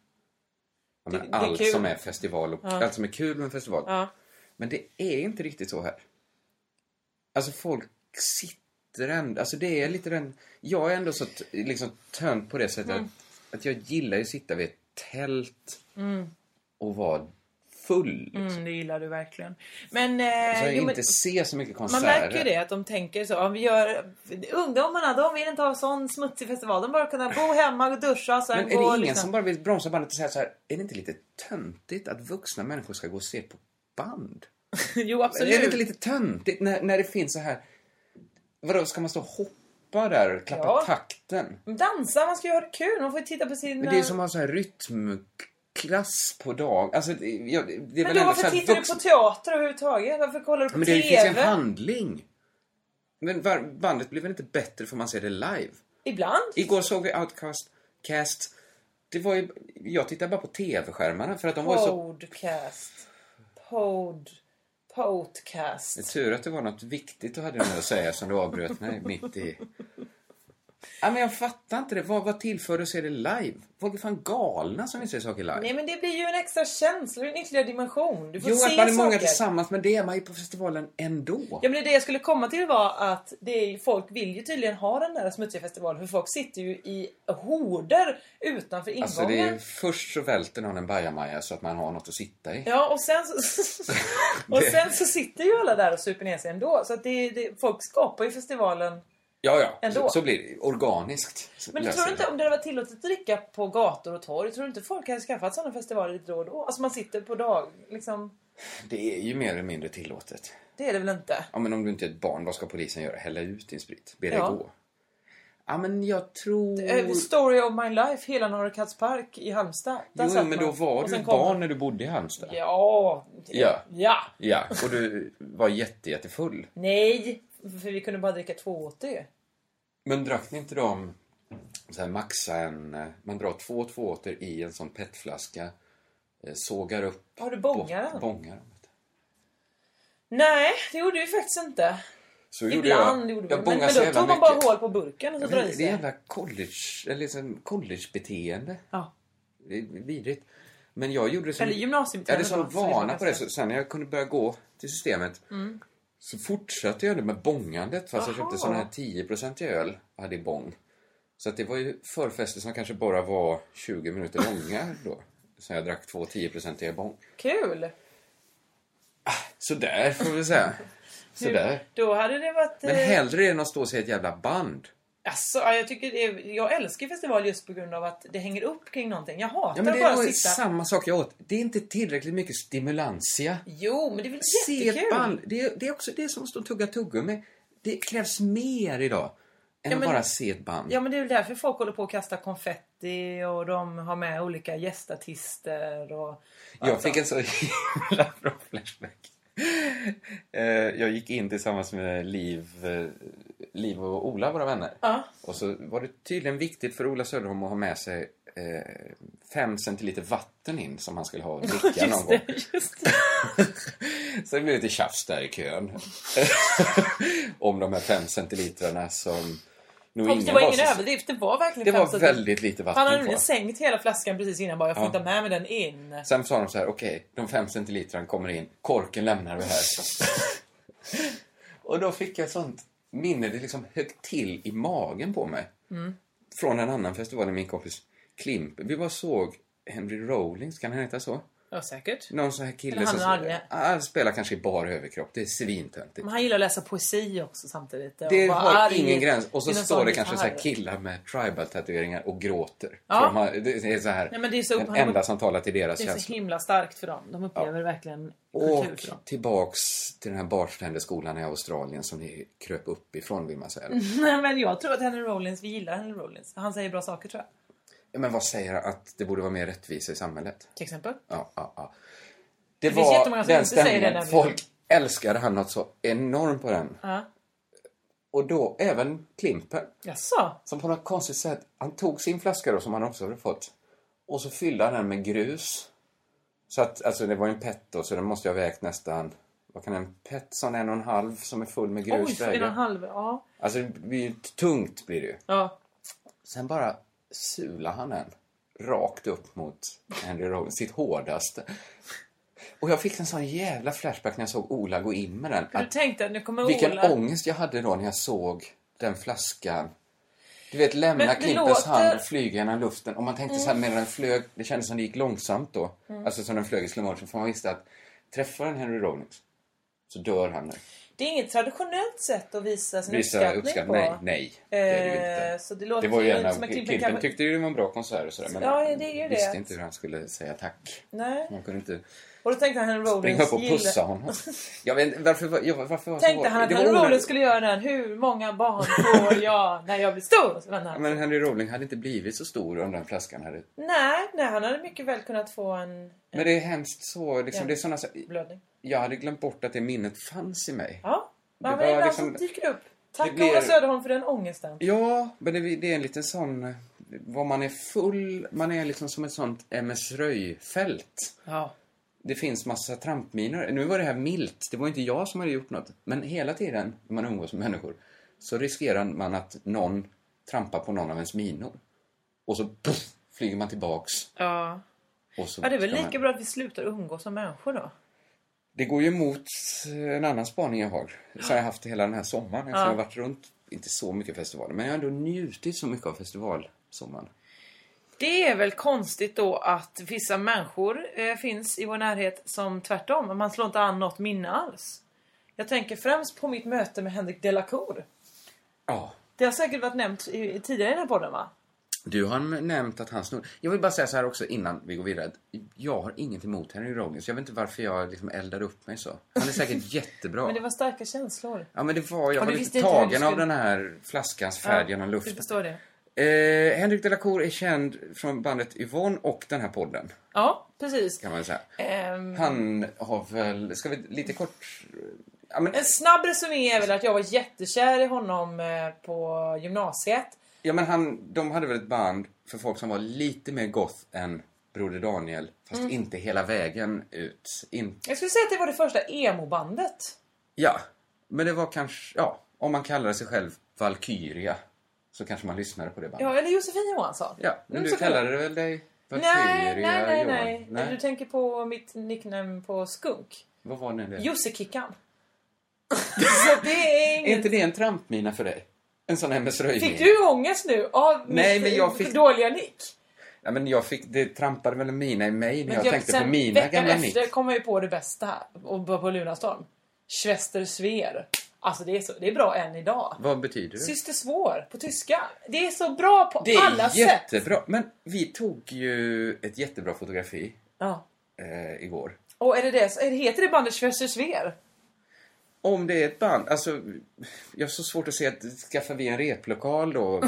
S6: ja, men
S5: Det- det är
S6: allt
S5: kul.
S6: som är festival och allt som är kul med en festival.
S5: Ja.
S6: Men det är inte riktigt så här. Alltså folk sitter ändå, alltså det är lite den, jag är ändå så t- liksom tönt på det sättet
S5: Mm.
S6: att, att jag gillar ju att sitta vid ett tält och vara full. Liksom.
S5: Mm, det gillar du verkligen. Men,
S6: Så
S5: eh,
S6: jag
S5: jo,
S6: Alltså, inte
S5: men
S6: se så mycket
S5: man
S6: konserter.
S5: märker ju det att de tänker så. Om vi gör, ungdomarna de vill inte ha sån smutsig festival. De bara kunna bo hemma och duscha och sen
S6: Men är
S5: gå
S6: det
S5: och
S6: ingen
S5: lyssna.
S6: som bara vill bromsa bandet och säga så här, är det inte lite töntigt att vuxna människor ska gå och se på band?
S5: Jo absolut.
S6: Är det inte lite töntigt när, när det finns så här... Vadå, ska man stå och hoppa där och klappa
S5: Ja.
S6: takten?
S5: Dansa, man ska ju ha det kul. Man får ju titta på eh, sina...
S6: Men det är som att ha så här rytmklass på dag. Alltså, det, jag, det är väl
S5: Men då
S6: ändå
S5: varför
S6: så här
S5: tittar du
S6: vuxen-
S5: på teater överhuvudtaget? Varför kollar du på
S6: Men
S5: TV?
S6: det finns ju en handling. Men var, bandet blir väl inte bättre för man ser det live?
S5: Ibland.
S6: Igår såg vi Outcast. Cast. Det var ju, jag tittade bara på TV-skärmarna för att de var ju så
S5: Podcast. Pod. Podcast.
S6: Det är tur att det var något viktigt du hade med att säga som du avbröt mig mitt i. Ja, men jag fattar inte det. Vad, vad tillför det att se det live? Folk är fan galna som vill se saker live.
S5: Nej men det blir ju en extra känsla, en ytterligare dimension. Du får
S6: jo,
S5: se
S6: att man är många
S5: saker.
S6: tillsammans, men det är man ju på festivalen ändå.
S5: Ja men det jag skulle komma till var att det är, ju- folk vill ju tydligen ha den där smutsiga festivalen för folk sitter ju i horder utanför ingången.
S6: alltså, det är, först så välter någon en bajamaja så att man har något att sitta i.
S5: Ja och sen, så, och sen så sitter ju alla där och super ner sig ändå. Så att det, det, folk skapar ju festivalen.
S6: Ja, ja.
S5: Ändå.
S6: Så, så blir det. Organiskt. så
S5: Men du
S6: löser
S5: tror
S6: det.
S5: inte om det hade varit tillåtet att dricka på gator och torg, tror du inte folk hade skaffat sådana festivaler lite då och då? Alltså man sitter på dag, liksom.
S6: Det är ju mer eller mindre tillåtet.
S5: Det är det väl inte?
S6: Ja, men om du inte är ett barn, vad ska polisen göra? Hälla ut din sprit? Be dig
S5: Ja.
S6: gå? Ja, men jag tror...
S5: Eh, Story of my life, hela Norrakattspark i Halmstad. Där
S6: Jo,
S5: satt
S6: men
S5: man.
S6: då var
S5: Och
S6: du
S5: sen
S6: ett
S5: kom-
S6: barn när du bodde i Halmstad.
S5: Ja.
S6: Ja.
S5: Ja.
S6: Ja, och du var jätte, jättefull.
S5: Nej, för vi kunde bara dricka 2,80.
S6: Men drack ni inte de så här maxa en... eh, Man drar två tvååter i en sån petflaska, eh, sågar upp...
S5: Har du bångar den?
S6: Bångar den, vet du.
S5: Nej, det gjorde vi faktiskt inte.
S6: Så gjorde
S5: Ibland
S6: jag.
S5: gjorde vi
S6: jag
S5: det. Men,
S6: bångade
S5: men
S6: så
S5: då
S6: jävla
S5: tog man bara
S6: mycket.
S5: hål på burken och så drog
S6: Men
S5: i
S6: Det är
S5: sig.
S6: jävla college, eller liksom collegebeteende.
S5: Ja.
S6: Det är vidrigt. Men jag gjorde det som...
S5: Eller
S6: Jag hade
S5: gymnasiebeteende.
S6: sån
S5: då, som vi
S6: vana på det,
S5: faktiskt-
S6: så sen när jag kunde börja gå till systemet så fortsatte jag det med bångandet fast jag
S5: Aha.
S6: köpte sån här 10 öl och hade i bång. Så att det var ju förfester som kanske bara var 20 minuter långa då. Så jag drack två 10 i bång.
S5: Kul!
S6: Sådär får vi säga. Sådär.
S5: Då hade det varit...
S6: Men
S5: eh,
S6: hellre det än att stå och se ett jävla band.
S5: Alltså, ja, jag, tycker det är, jag älskar festival just på grund av att det hänger upp kring någonting. Jag hatar
S6: Ja, men det
S5: bara
S6: var
S5: att sitta...
S6: samma sak jag åt. Det är inte tillräckligt mycket stimulantia.
S5: Jo, men det är väl
S6: Se ett
S5: jättekul?
S6: band. Det, är- det är också det som står tugga tuggummi. Det krävs mer idag än
S5: Ja, men-
S6: att bara se ett band.
S5: Ja men det är väl därför folk håller på att kasta konfetti och de har med olika gästartister och...
S6: Jag
S5: Alltså.
S6: fick en så himla bra flashback. Eh, Jag gick in tillsammans med Liv, eh, Liv och Ola, våra vänner.
S5: Ja.
S6: Och så var det tydligen viktigt för Ola Söderholm att ha med sig eh, fem centiliter vatten in som han skulle ha att dricka någon
S5: Just
S6: gång.
S5: det, just det.
S6: Så det blev lite tjafs där i kön. Om de här fem centiliterna som nog
S5: Och det
S6: ingen
S5: var
S6: var
S5: ingen
S6: så...
S5: överdrift, det var verkligen
S6: Det var
S5: femsatt.
S6: väldigt lite
S5: Han hade
S6: vatten kvar.
S5: nämligen sänkt hela flaskan precis innan bara, jag får
S6: Ja.
S5: inte ha med mig den in.
S6: Sen sa de så här, okej, de fem centiliterna kommer in, korken lämnar vi här. och då fick jag sånt minne, det liksom högg till i magen på mig.
S5: Mm.
S6: Från en annan festival, min kompis Klimp. Vi bara såg Henry Rollins, kan han heta så?
S5: Ja, säkert.
S6: Någon sån här kille
S5: Eller han och
S6: som
S5: Agge.
S6: han spelar kanske i bar överkropp, det är svintöntigt.
S5: Men han gillar att läsa poesi också samtidigt. och
S6: Det
S5: vara
S6: har
S5: arg
S6: ingen gräns. Och så
S5: i någon
S6: står
S5: sån
S6: det kanske så här
S5: gitarr.
S6: killar med tribal-tatueringar och gråter.
S5: Ja.
S6: För de har, det är så här,
S5: Nej, men det är så-
S6: den
S5: han-
S6: enda som talar till deras
S5: Det är så
S6: känslor.
S5: himla starkt för dem. De upplever verkligen kultur
S6: Och
S5: för dem.
S6: tillbaks till den här bartenderskolan i Australien som ni kröp upp ifrån vill man säga.
S5: Nej, men jag tror att Henry Rollins, vi gillar Henry Rollins. Han säger bra saker tror jag.
S6: Ja, Men vad säger han? att det borde vara mer rättvisa i samhället?
S5: Till exempel.
S6: Ja, ja, ja. Det,
S5: finns jättemånga
S6: var
S5: som
S6: den
S5: inte säger det
S6: stämningen.
S5: nämligen.
S6: Folk älskade han något så enormt på den.
S5: Ja.
S6: Och då även Klimpen.
S5: Jaså?
S6: Som på något konstigt sätt, han tog sin flaska då som han också hade fått och så fyllde han den med grus. Så att, alltså det var ju en pet då, så den måste jag ha vägt nästan, vad kan en pet som är en och en halv som är full med
S5: Oj,
S6: grus
S5: en och en
S6: väga?
S5: halv. Ja.
S6: Alltså det blir ju tungt blir det ju.
S5: ja.
S6: Sen bara sular han den rakt upp mot Henry Rollins, sitt hårdaste. Och jag fick en sån jävla flashback när jag såg Ola gå in med den.
S5: För du
S6: att-
S5: tänkte att nu kommer
S6: vilken
S5: Ola.
S6: ångest jag hade då när jag såg den flaskan. Du vet, lämna
S5: Men det
S6: Klimpens
S5: låter- Mm.
S6: hand flyga genom luften. Och man tänkte så här medan den flög, det kändes som det gick långsamt då. Alltså som den flög i slow motion. För man visste att träffar den Henry Rollins så dör han nu.
S5: Det är inget traditionellt sätt att visa sin
S6: Visa
S5: uppskattning
S6: uppskattning.
S5: på.
S6: Nej, nej. Det är det ju
S5: Eh,
S6: inte.
S5: så det låter
S6: Det var ju
S5: ju
S6: en
S5: som
S6: av...
S5: att Klimpen
S6: Klimpen
S5: kanske-
S6: tyckte ju det var en bra konsert och sådär. Men
S5: Ja, det är ju det.
S6: visste inte hur han skulle säga tack.
S5: Nej.
S6: Man kunde inte
S5: Och då tänkte han Henry Rollins
S6: springa upp och
S5: gillar-
S6: pussa honom. Jag vet inte, varför, var- jag- varför var jag så
S5: Tänkte
S6: hård?
S5: han att
S6: Det var
S5: Henry
S6: onödigt.
S5: Rollins skulle göra den. Hur många barn får jag när jag blir stor? Så vände
S6: Ja,
S5: han.
S6: Men Henry Rowling hade inte blivit så stor om den flaskan hade...
S5: Nej, nej, han hade mycket väl kunnat få en
S6: Men det är hemskt så, liksom,
S5: Ja.
S6: det är såna, så-
S5: blödning.
S6: Jag hade glömt bort att det minnet fanns i mig.
S5: Ja,
S6: Det
S5: men
S6: var
S5: det är
S6: liksom-
S5: liksom... som dyker upp. Tack
S6: Det blir-
S5: Ola Söderholm för den ångesten.
S6: Ja, men det, det är en liten sån... Vad man är full, man är liksom som ett sånt MS Röj-fält.
S5: Ja.
S6: Det finns massa trampminor. Nu var det här milt, det var inte jag som hade gjort något. Men hela tiden när man umgås med människor så riskerar man att någon trampar på någon av ens minor. Och så puff, flyger man tillbaks.
S5: Ja.
S6: Och så
S5: ja, det är väl
S6: ska man-
S5: lika bra att vi slutar umgås som människor då.
S6: Det går ju emot en annan spaning jag har, som jag haft hela den här sommaren. Eftersom jag har varit runt, inte så mycket festivaler, men jag har ändå njutit så mycket av festivalsommaren.
S5: Det är väl konstigt då att vissa människor eh, finns i vår närhet som tvärtom, man slår inte an något minne alls. Jag tänker främst på mitt möte med Henrik Delacour.
S6: Ja.
S5: Det har säkert varit nämnt i, i tidigare i den här podden va?
S6: Du har nämnt att han snor. Jag vill bara säga så här också innan vi går vidare. att Jag har inget emot Henry Rollins. Jag vet inte varför jag liksom eldar upp mig så. Han är säkert jättebra.
S5: Men det var starka känslor.
S6: Ja men det var, jag
S5: Och
S6: var
S5: du visste
S6: lite
S5: inte hur du
S6: tagen av
S5: skulle-
S6: den här flaskans färd
S5: Ja,
S6: genom luften.
S5: Du förstår det.
S6: Eh, Henrik Delacour är känd från bandet Yvonne och den här podden,
S5: Ja, precis.
S6: kan man säga.
S5: Ehm,
S6: Han har väl, ska vi lite kort... Ja, men,
S5: en snabb resumé är väl att jag var jättekär i honom eh, på gymnasiet.
S6: ja, men han, de hade väl ett band för folk som var lite mer goth än Broder Daniel, fast
S5: Mm.
S6: inte hela vägen ut. In,
S5: Jag skulle säga att det var det första emo-bandet.
S6: ja, men det var kanske, ja, om man kallar sig själv Valkyria så kanske man lyssnade på det bandet.
S5: Ja, eller Josefin Johansson.
S6: Ja, men
S5: Mm,
S6: du
S5: så kan-
S6: kallade det väl dig Valkyria?
S5: Nej, nej, nej,
S6: Johan?
S5: nej. Du tänker på mitt nickname på skunk.
S6: Vad var nu det?
S5: Jossekickan. så det är
S6: Är
S5: inget...
S6: inte det en trampmina för dig? En sån MS Röjning?
S5: Fick du ångest nu av
S6: Nej,
S5: mitt
S6: men jag fick-
S5: dåliga nick?
S6: Ja, men jag fick, det trampade väl en mina i mig när
S5: Men
S6: jag, tänkte på
S5: sen
S6: mina
S5: veckan
S6: gamla nick.
S5: efter kom jag ju på det bästa här, och började på Lunarstorm. Schwester Sveer. Alltså det är, så, det är bra än idag.
S6: Vad betyder det?
S5: Syster svår på tyska. Det är så bra på
S6: det är
S5: alla sätt.
S6: jättebra. Men vi tog ju ett jättebra fotografi
S5: Ja.
S6: eh, igår.
S5: Och är det det, så- är det, heter det bandet Schweizerschwer?
S6: Om det är ett band, alltså jag har så svårt att se att skaffar vi en replokal då?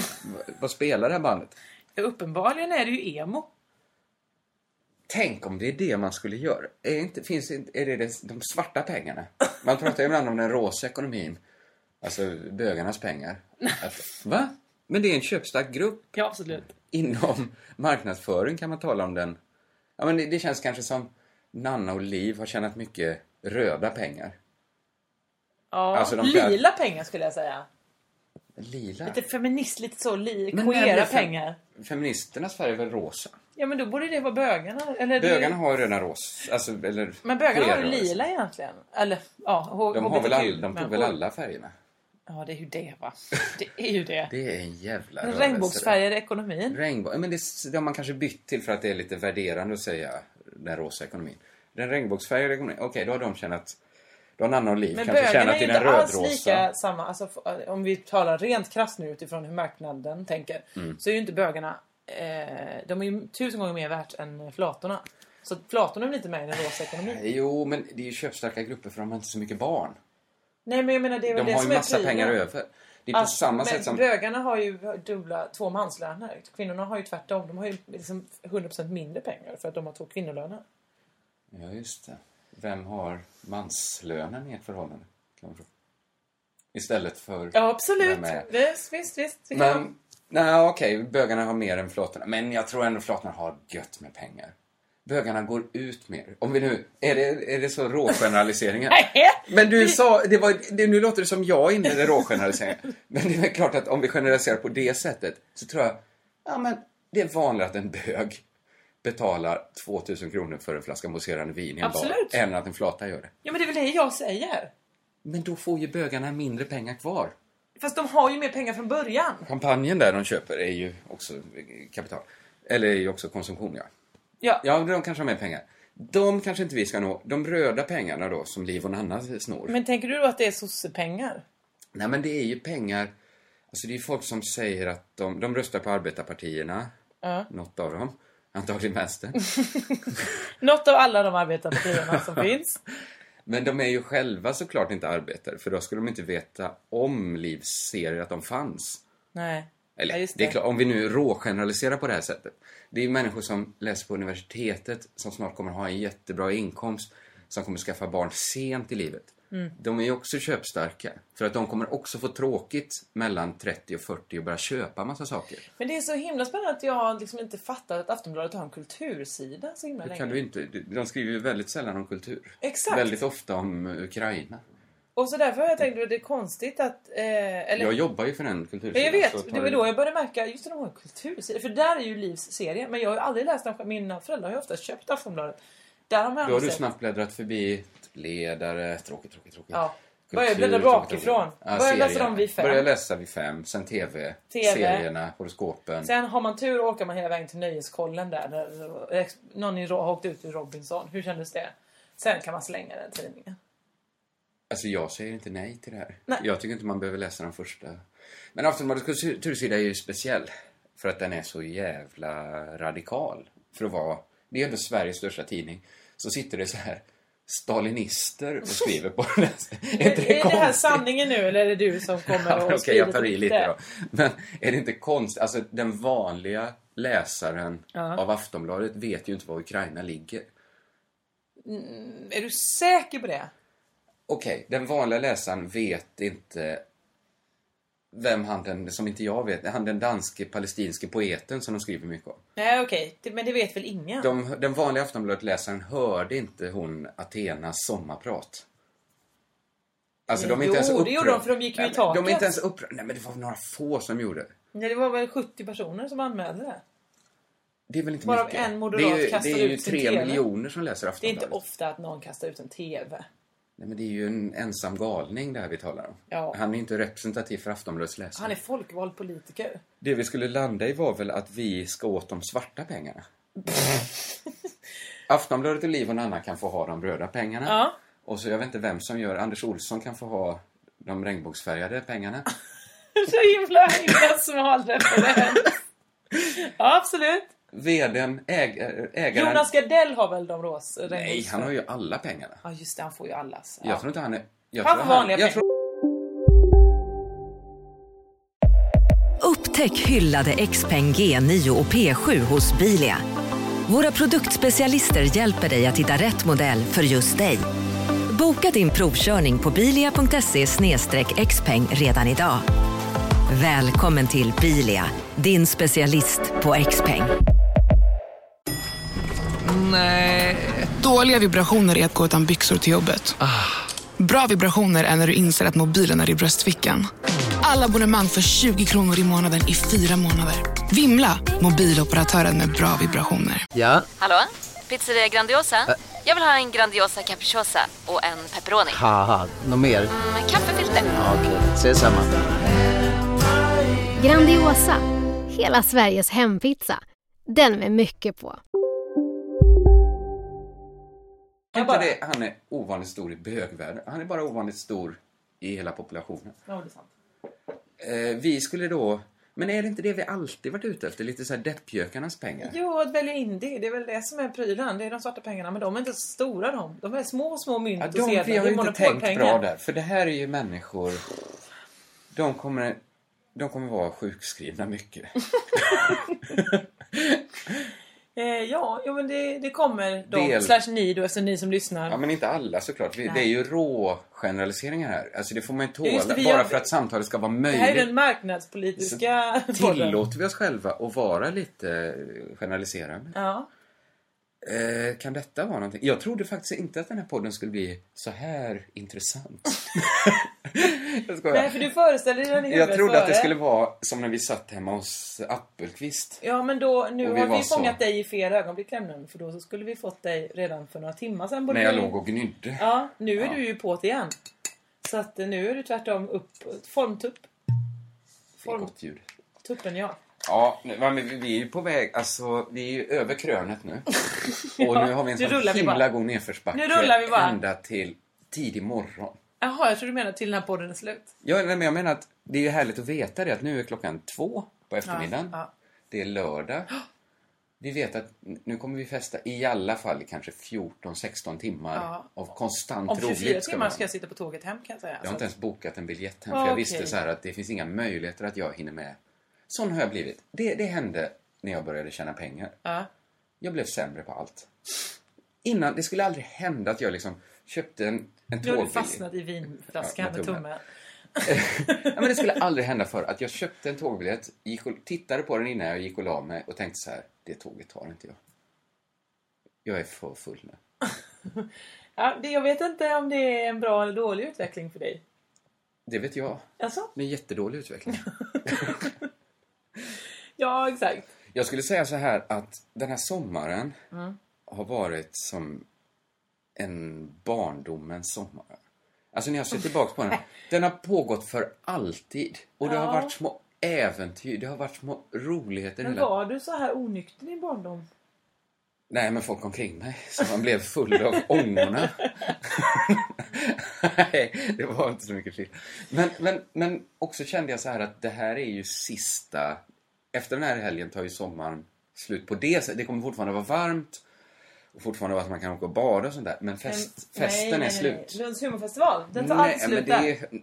S6: vad spelar det här bandet?
S5: Uppenbarligen är det ju emo.
S6: Tänk om det är det man skulle göra. Är, inte, finns, inte- är det det- de svarta pengarna? Man pratar ju ibland om den rosa ekonomin. Alltså bögarnas pengar. Att, va? Men det är en köpstark grupp.
S5: Ja, absolut.
S6: Inom marknadsföring kan man tala om den. Ja, men det, det känns kanske som Nanna och Liv har tjänat mycket röda pengar.
S5: Ja,
S6: Alltså, de kan-
S5: lila pengar skulle jag säga.
S6: Lila.
S5: Lite feminist, lite så li,
S6: Men när
S5: queera
S6: blir fem-
S5: pengar.
S6: Feministernas färg är väl rosa?
S5: Ja, men då borde det vara bögarna. Eller
S6: Bögarna har redan rosa. Alltså, eller
S5: Men bögarna har ju
S6: flerrosa.
S5: lila egentligen. Eller ja, H-
S6: De, har
S5: HBTQ,
S6: väl all, de tog
S5: men-
S6: väl alla färgerna?
S5: Ja, det är ju det va. Det är ju det.
S6: Det är en jävla rörelse.
S5: Regnbågsfärger i ekonomin.
S6: Regnbå- men det, s- det har man kanske bytt till för att det är lite värderande att säga den rosa ekonomin. Den regnbågsfärgade ekonomin, okej då har de tjänat, då har Nanna och Liv
S5: Men
S6: kanske
S5: bögarna
S6: tjänat
S5: är
S6: i
S5: ju
S6: den
S5: inte alls
S6: rödrosa.
S5: lika samma. Alltså, f- om vi talar rent krasst nu utifrån hur marknaden tänker.
S6: Mm.
S5: Så är ju inte bögarna... Eh, de är ju tusen gånger mer värt än flatorna. Så flatorna är väl inte med i den rosa ekonomin.
S6: Jo, men det är ju köpstarka grupper för de har inte så mycket barn.
S5: Nej men jag menar det är väl
S6: De
S5: det
S6: har
S5: som
S6: ju
S5: är
S6: massa
S5: prylen.
S6: pengar över. Det är på
S5: Alltså,
S6: samma
S5: men
S6: sätt som...
S5: bögarna har ju dubbla, två manslöner. Kvinnorna har ju tvärtom. De har ju liksom 100% mindre pengar för att de har två kvinnolöner.
S6: Ja, just det. Vem har manslönen i ett förhållande? Kan man fråga. Istället för...
S5: Ja absolut.
S6: Vem är-
S5: Visst, visst, visst. Det kan vara-
S6: Men, nej okej, bögarna har mer än flatorna. Men jag tror ändå flatorna har gött med pengar. Bögarna går ut mer. Om vi nu, är det, är det så rågeneraliseringar?
S5: Nej.
S6: Men du sa, det var, det, nu låter det som jag inledde rågeneraliseringar. Men det är väl klart att om vi generaliserar på det sättet så tror jag, ja men det är vanligt att en bög betalar 2000 kronor för en flaska mousserande vin i en
S5: Absolut.
S6: bar, än att en flata gör det.
S5: Ja men det är väl det jag säger.
S6: Men då får ju bögarna mindre pengar kvar.
S5: Fast de har ju mer pengar från början.
S6: Champagnen där de köper är ju också kapital. Eller är ju också konsumtion, ja.
S5: Ja.
S6: Ja, de kanske har mer pengar. De kanske inte vi ska nå. De röda pengarna då, som Liv och Nanna snor.
S5: Men tänker du då att det är sossepengar?
S6: Nej, men det är ju pengar. Alltså det är ju folk som säger att de, de röstar på arbetarpartierna.
S5: Ja.
S6: Något av dem. Antagligen vänstern.
S5: Något av alla de arbetarpartierna som finns.
S6: Men de är ju själva såklart inte arbetare, för då skulle de inte veta om Liv ser att de fanns.
S5: Nej.
S6: Eller,
S5: ja,
S6: det.
S5: just
S6: är klart, om vi nu rågeneraliserar på det här sättet. Det är ju människor som läser på universitetet som snart kommer ha en jättebra inkomst, som kommer skaffa barn sent i livet.
S5: Mm.
S6: De är ju också köpstarka, för att de kommer också få tråkigt mellan 30 och 40 och börja köpa massa saker.
S5: Men det är så himla spännande att jag liksom inte fattar att Aftonbladet har en kultursida så himla
S6: Det
S5: länge.
S6: kan du inte, de skriver ju väldigt sällan om kultur.
S5: Exakt.
S6: Väldigt ofta om Ukraina.
S5: Och så därför har jag tänkt att det är konstigt att... Eh, eller,
S6: Jag jobbar ju för den
S5: Ja,
S6: kultursidan.
S5: jag vet, det
S6: så tar
S5: var
S6: Alltså, det-
S5: då jag började märka, just det, de har en kultursida. För där är ju Livs serie, men jag har ju aldrig läst den själv. Mina föräldrar har ju ofta köpt Aftonbladet. Där har man
S6: Då har du
S5: aldrig sett.
S6: snabbt bläddrat förbi ledare, tråkigt, tråkigt, tråkigt.
S5: Ja.
S6: Kultur,
S5: Börja bläddra
S6: tråkigt,
S5: bakifrån.
S6: tråkigt.
S5: Börja läsa
S6: serierna.
S5: dem vid fem.
S6: Börja läsa vid fem, sen TV,
S5: TV.
S6: serierna, horoskopen.
S5: Sen har man tur orkar man hela vägen till Nöjeskollen där. där ex- någon i- har åkt ut ur Robinson. Hur kändes det? Sen kan man slänga den tidningen.
S6: Alltså jag säger inte nej till det här.
S5: Nej.
S6: Jag tycker inte man behöver läsa den första. Men Aftonbladets kultursida är ju speciell. För att den är så jävla radikal. För att vara, det är ändå Sveriges största tidning. Så sitter det så här stalinister och skriver på den. Är
S5: Är
S6: inte
S5: det, här
S6: konstigt?
S5: sanningen nu eller är det du som kommer
S6: Ja,
S5: och
S6: men Okej, jag tar i
S5: sprider
S6: lite då. Men är det inte konstigt? Alltså den vanliga läsaren av Aftonbladet vet ju inte var Ukraina ligger.
S5: Är du säker på det?
S6: Okej, den vanliga läsaren vet inte vem han den, som inte jag vet, han den danske palestinske poeten som de skriver mycket om.
S5: Nej okej, Det- men det vet väl ingen?
S6: De, den vanliga Aftonbladet-läsaren hörde inte hon Athenas sommarprat. Alltså de
S5: Jo,
S6: är inte ens
S5: det
S6: upprörda.
S5: gjorde de, för de gick ju i
S6: Nej, men De är
S5: taket.
S6: inte ens upprörda. Nej men det var några få som gjorde det.
S5: Nej, det var väl 70 personer som anmälde det.
S6: Det är väl inte
S5: Varav
S6: mycket?
S5: en moderat
S6: det är ju,
S5: kastar
S6: Det är ju
S5: ut sin
S6: tre
S5: TV.
S6: miljoner som läser
S5: Det är inte
S6: Aftonbladet.
S5: ofta att någon kastar ut en TV.
S6: Nej, men det är ju en ensam galning det här vi talar om.
S5: Ja.
S6: Han är inte representativ för Aftonbladets läsare.
S5: Han är folkvald politiker.
S6: Det vi skulle landa i var väl att vi ska åt de svarta pengarna. Aftonbladet och Liv och Nanna kan få ha de röda pengarna.
S5: Ja.
S6: Och så jag vet inte vem som gör, Anders Olsson kan få ha de regnbågsfärgade pengarna.
S5: Så himla, himla smal referens. Ja, absolut.
S6: Vdn, äg, äh, ägaren...
S5: Jonas Gardell har väl de ros
S6: Nej, han har ju alla pengarna.
S5: Ja, just det. Han får ju alla. Så.
S6: Jag tror inte han är... Jag
S5: Han
S6: tror
S5: får vanliga
S6: jag tror,
S7: Upptäck hyllade XPeng G9 och P7 hos Bilia. Våra produktspecialister hjälper dig att hitta rätt modell för just dig. Boka din provkörning på bilia.se xpeng redan idag. Välkommen till Bilia, din specialist på XPeng.
S8: Dåliga vibrationer är att gå utan byxor till jobbet.
S6: Ah.
S8: Bra vibrationer är när du inser att mobilen är i bröstfickan. Alla abonnemang för 20 kronor i månaden i fyra månader. Vimla! Mobiloperatören med bra vibrationer.
S9: Ja,
S10: Hallå? Pizzeria Grandiosa? Jag vill ha en Grandiosa capriciosa och en pepperoni.
S9: haha, något mer?
S10: Med kaffefilter.
S9: Ja, Okej, ses samma.
S11: Grandiosa, hela Sveriges hempizza. Den med mycket på.
S6: jag inte det, han är ovanligt stor i bögvärlden. Han är bara ovanligt stor i hela populationen.
S5: Ja, det är sant.
S6: Eh, vi skulle då... Men är det inte det vi alltid varit ute efter? Lite så här deppjökarnas pengar?
S5: Jo, att välja in det. Det är väl det som är prylen. Det är de svarta pengarna. Men de är inte så stora de. De är små, små mynt
S6: Ja,
S5: och
S6: de,
S5: sedlar.
S6: vi har
S5: Det
S6: ju
S5: är
S6: inte tänkt
S5: monopolpengar.
S6: bra där. För det här är ju människor... De kommer, de kommer vara sjukskrivna mycket.
S5: Eh, ja, jo, men det, det kommer de.
S6: Del.
S5: Slash ni då, alltså ni som lyssnar.
S6: Ja, men inte alla såklart. Vi,
S5: Nej.
S6: det är ju rå generaliseringar här. Alltså det får man ju
S5: Ja, just det,
S6: tåla.
S5: vi
S6: bara
S5: gör-
S6: för att samtalet ska vara
S5: det här är
S6: möjligt.
S5: den marknadspolitiska podden.
S6: Tillåter vi oss själva att vara lite eh, generaliserande?
S5: Ja.
S6: Eh, kan detta vara någonting? Jag trodde faktiskt inte att den här podden skulle bli så här intressant. jag skojar.
S5: Nej, för du föreställer dig den i
S6: Jag
S5: huvudet
S6: trodde att det
S5: före.
S6: skulle vara som när vi satt hemma hos Appelqvist.
S5: Ja, men då, nu
S6: Och vi
S5: har
S6: var
S5: vi
S6: så-
S5: fångat dig i fel ögonblick nämligen. För då så skulle vi fått dig redan för några timmar sedan. både
S6: När jag
S5: du-
S6: låg och gnydde.
S5: Ja, nu är du ju på det igen. Så att eh, nu är du tvärtom upp. Formtupp.
S6: Det är gott ljud.
S5: Tuppen, ja.
S6: Ja, nu- men vi vi är ju på väg, alltså vi är ju över krönet nu. Och
S5: Ja,
S6: nu har vi en
S5: nu
S6: sån
S5: rullar vi
S6: himla
S5: bara.
S6: god nedförsbacke.
S5: Nu rullar vi bara.
S6: Ända till tidig morgon.
S5: Jaha, jag tror du menar till den här podden är slut.
S6: Ja, nej, men jag menar att det är ju härligt att veta det att nu är klockan två på eftermiddagen.
S5: Ja,
S6: Det är lördag. Vi vet att nu kommer vi festa i alla fall i kanske 14-16 timmar
S5: Ja.
S6: av konstant
S5: Om 24
S6: roligt. Ska
S5: timmar
S6: man.
S5: ska jag sitta på tåget hem kan jag säga.
S6: Jag har
S5: Så
S6: inte ens bokat en biljett hem för
S5: Alltså Ah,
S6: jag
S5: okej.
S6: visste så här att det finns inga möjligheter att jag hinner med. Sån har jag blivit. Det, det hände när jag började tjäna pengar.
S5: Ja.
S6: Jag blev sämre på allt. Innan, det skulle aldrig hända att jag liksom köpte en, en
S5: Nu har du
S6: tågbiljett.
S5: fastnat i vinflaskan
S6: Ja, med
S5: med
S6: tummen.
S5: tummen.
S6: Ja, men det skulle aldrig hända för att jag köpte en tågbiljett, gick och, tittade på den innan jag gick och la mig och tänkte så här, det tåget tar inte jag. Jag är för full nu.
S5: Ja, det, jag vet inte om det är en bra eller dålig utveckling för dig.
S6: Det vet jag.
S5: Alltså?
S6: Det är en jättedålig utveckling.
S5: Ja, exakt.
S6: Jag skulle säga så här att den här sommaren
S5: Mm.
S6: har varit som en barndomens sommar. Alltså när jag ser tillbaka på den, den har pågått för alltid. Och det har
S5: Ja.
S6: varit små äventyr, det har varit små roligheter.
S5: Men
S6: hela-
S5: var du så här onykter i barndom?
S6: Nej, men folk omkring mig. Så man blev full av ångorna. Nej, det var inte så mycket skit. Men, men, men också kände jag så här att det här är ju sista... Efter den här helgen tar ju sommaren slut på det sättet. Det kommer fortfarande vara varmt och fortfarande vara att man kan åka och bada och sånt där. Men fest,
S5: Nej,
S6: festen
S5: nej,
S6: är
S5: nej,
S6: slut.
S5: Nej. Lunds humorfestival, den tar alltid
S6: men
S5: slut
S6: det
S5: där.
S6: är-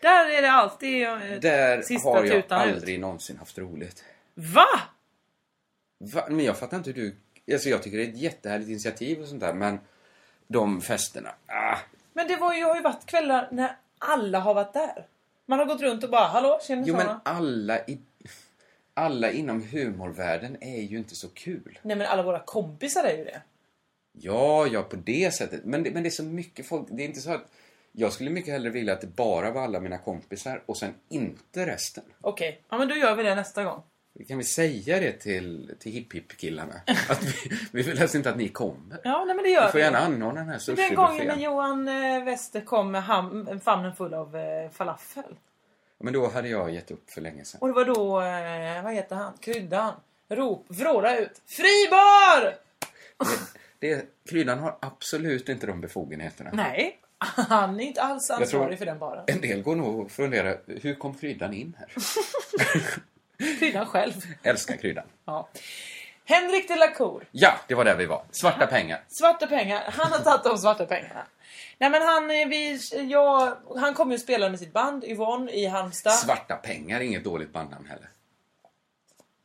S5: Där är det alltid eh,
S6: Där
S5: sista
S6: har jag
S5: tutan ut.
S6: aldrig någonsin haft roligt.
S5: Va?
S6: Va? Men jag fattar inte hur du... Alltså jag tycker det är ett jättehärligt initiativ och sånt där, men de festerna... Ah,
S5: Men det var ju, har ju varit kvällar när alla har varit där. Man har gått runt och bara, hallå, tjena,
S6: Jo,
S5: tjena.
S6: men alla, i, alla inom humorvärlden är ju inte så kul.
S5: Nej men alla våra kompisar är ju det.
S6: Ja, ja, på det sättet. Men det, men det är så mycket folk. Det är inte så att... Jag skulle mycket hellre vilja att det bara var alla mina kompisar och sen inte resten.
S5: Okej, ja men då gör vi det nästa gång.
S6: Kan vi säga det till, till hipp-hipp-killarna? Att vi, vi vill helst inte att ni kommer.
S5: Ja, nej men det gör
S6: Vi får
S5: vi.
S6: gärna anordna den här
S5: Den gången när
S6: sushibuffén.
S5: Johan eh, Wester kom med ham- famnen full av eh, falafel.
S6: Men då hade jag gett upp för länge sedan.
S5: Och det var då, eh, vad heter han, kryddan, rop, vråla ut. Fribar!
S6: Det, kryddan har absolut inte de befogenheterna.
S5: Nej, Han är inte alls
S6: Jag tror-
S5: ansvarig för den baren.
S6: En del går nog och funderar, hur kom kryddan in här?
S5: Kryddan själv.
S6: Älskar kryddan.
S5: Ja. Henrik de la Cour.
S6: Ja, det var där vi var. Svarta pengar.
S5: Svarta pengar. Han har tagit de svarta pengarna. Nej men han, eh, vi, jag, han kommer ju spela med sitt band Yvonne i Halmstad.
S6: Svarta pengar är inget dåligt bandnamn heller.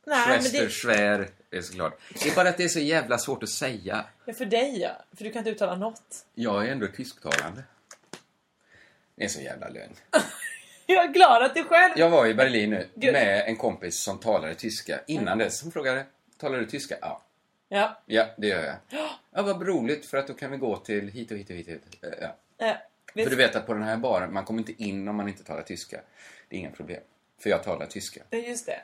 S5: Nej, men
S6: Schwester,
S5: det,
S6: Schwer, det är såklart. Det är bara att det är så jävla svårt att säga.
S5: ja, för dig ja. För du kan inte uttala något.
S6: Jag är ändå tysktalande. Det är så jävla lögn.
S5: Jag är glad att du själv...
S6: Jag var i Berlin nu
S5: Gud.
S6: med en kompis som talade tyska innan dess. Hon frågade, talar du tyska? Ja.
S5: Ja.
S6: Ja, det gör jag. Ja, vad roligt för att då kan vi gå till hit och hit och hit. Och hit. Eh, Ja.
S5: Eh,
S6: För du vet att på den här baren, man kommer inte in om man inte talar tyska. Det är inga problem. För jag talar tyska.
S5: Ja, Just det.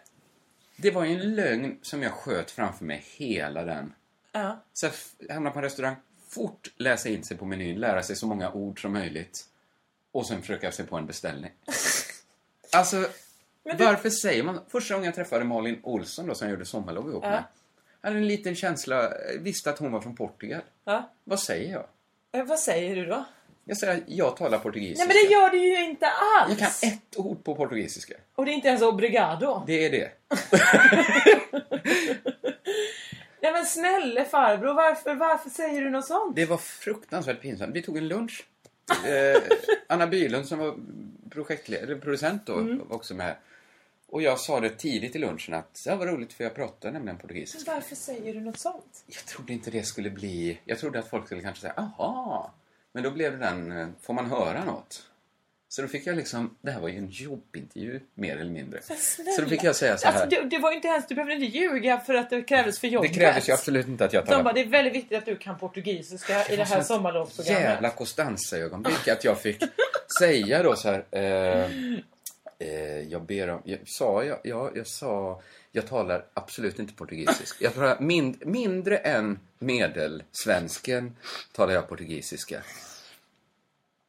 S6: Det var ju en lögn som jag sköt framför mig hela den.
S5: Ja.
S6: Så jag f- hamnade på en restaurang, fort läsa in sig på menyn, lära sig så många ord som möjligt. Och sen försöka sig på en beställning. Alltså, varför säger man... Första gången jag träffade Malin Olsson då, som jag gjorde sommarlov ihop
S5: Ja.
S6: med. Jag hade en liten känsla, eh, visste att hon var från Portugal.
S5: Ja.
S6: Vad säger jag?
S5: Eh, Vad säger du då?
S6: Jag säger att jag talar portugisiska.
S5: Nej men det gör du ju inte alls!
S6: Jag kan ett ord på portugisiska.
S5: Och det är inte ens obrigado.
S6: Det är det.
S5: Nej men snälla farbror, varför, varför säger du något sånt?
S6: Det var fruktansvärt pinsamt. Vi tog en lunch. Eh, Anna Bylund som var projektledare, eller producent då,
S5: Mm.
S6: var också med. Och jag sa det tidigt i lunchen att det var roligt för jag pratar nämligen portugisiska.
S5: Men varför säger du något sånt?
S6: Jag trodde inte det skulle bli... Jag trodde att folk skulle kanske säga aha. Men då blev det den, eh, får man höra något? Så då fick jag liksom, det här var ju en jobbintervju mer eller mindre.
S5: Men snälla.
S6: Så då fick jag säga så här.
S5: Alltså, det, det var ju inte ens, du behövde inte ljuga för att det krävdes för
S6: Det
S5: jobbet.
S6: krävdes ju absolut inte att jag
S5: De bara,
S6: talade
S5: det är väldigt viktigt att du kan portugisiska i det här
S6: sånt
S5: sommarlovsprogrammet.
S6: jävla Costanza-ögonblick att jag fick säga då så här. Eh, eh, jag ber om... Jag, sa jag? Ja, jag sa... Jag talar absolut inte portugisisk. Jag talar mind, mindre än medelsvensken talar jag portugisiska.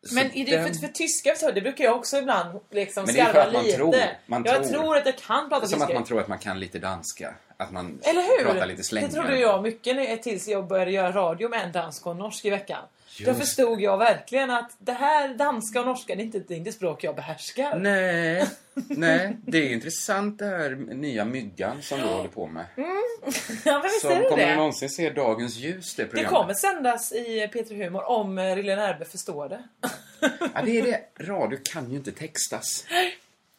S6: Så
S5: Men är det
S6: den-
S5: för, för tyska, så, det brukar jag också ibland liksom
S6: Men det är för
S5: skarva
S6: att man
S5: lite.
S6: tror. Man
S5: jag
S6: tror.
S5: tror. att jag kan prata
S6: Som
S5: tyska.
S6: att man tror att man kan lite danska. Att man
S5: Eller hur?
S6: pratar lite
S5: det
S6: slängigare.
S5: trodde jag mycket när, tills jag började göra radio med en dansk och en norsk i veckan. Då
S6: Just
S5: förstod jag verkligen att det här danska och norska det är inte det, är inte språk jag behärskar.
S6: Nej, nej, det är intressant det här nya myggan som du håller på med.
S5: Mm. Ja, men visst
S6: Som
S5: är det
S6: kommer
S5: det?
S6: någonsin se dagens ljus det
S5: Det
S6: programmet.
S5: kommer sändas i Peter Humor om eh, Lille Närbe förstår det.
S6: Ja, det är det. Radio kan ju inte textas.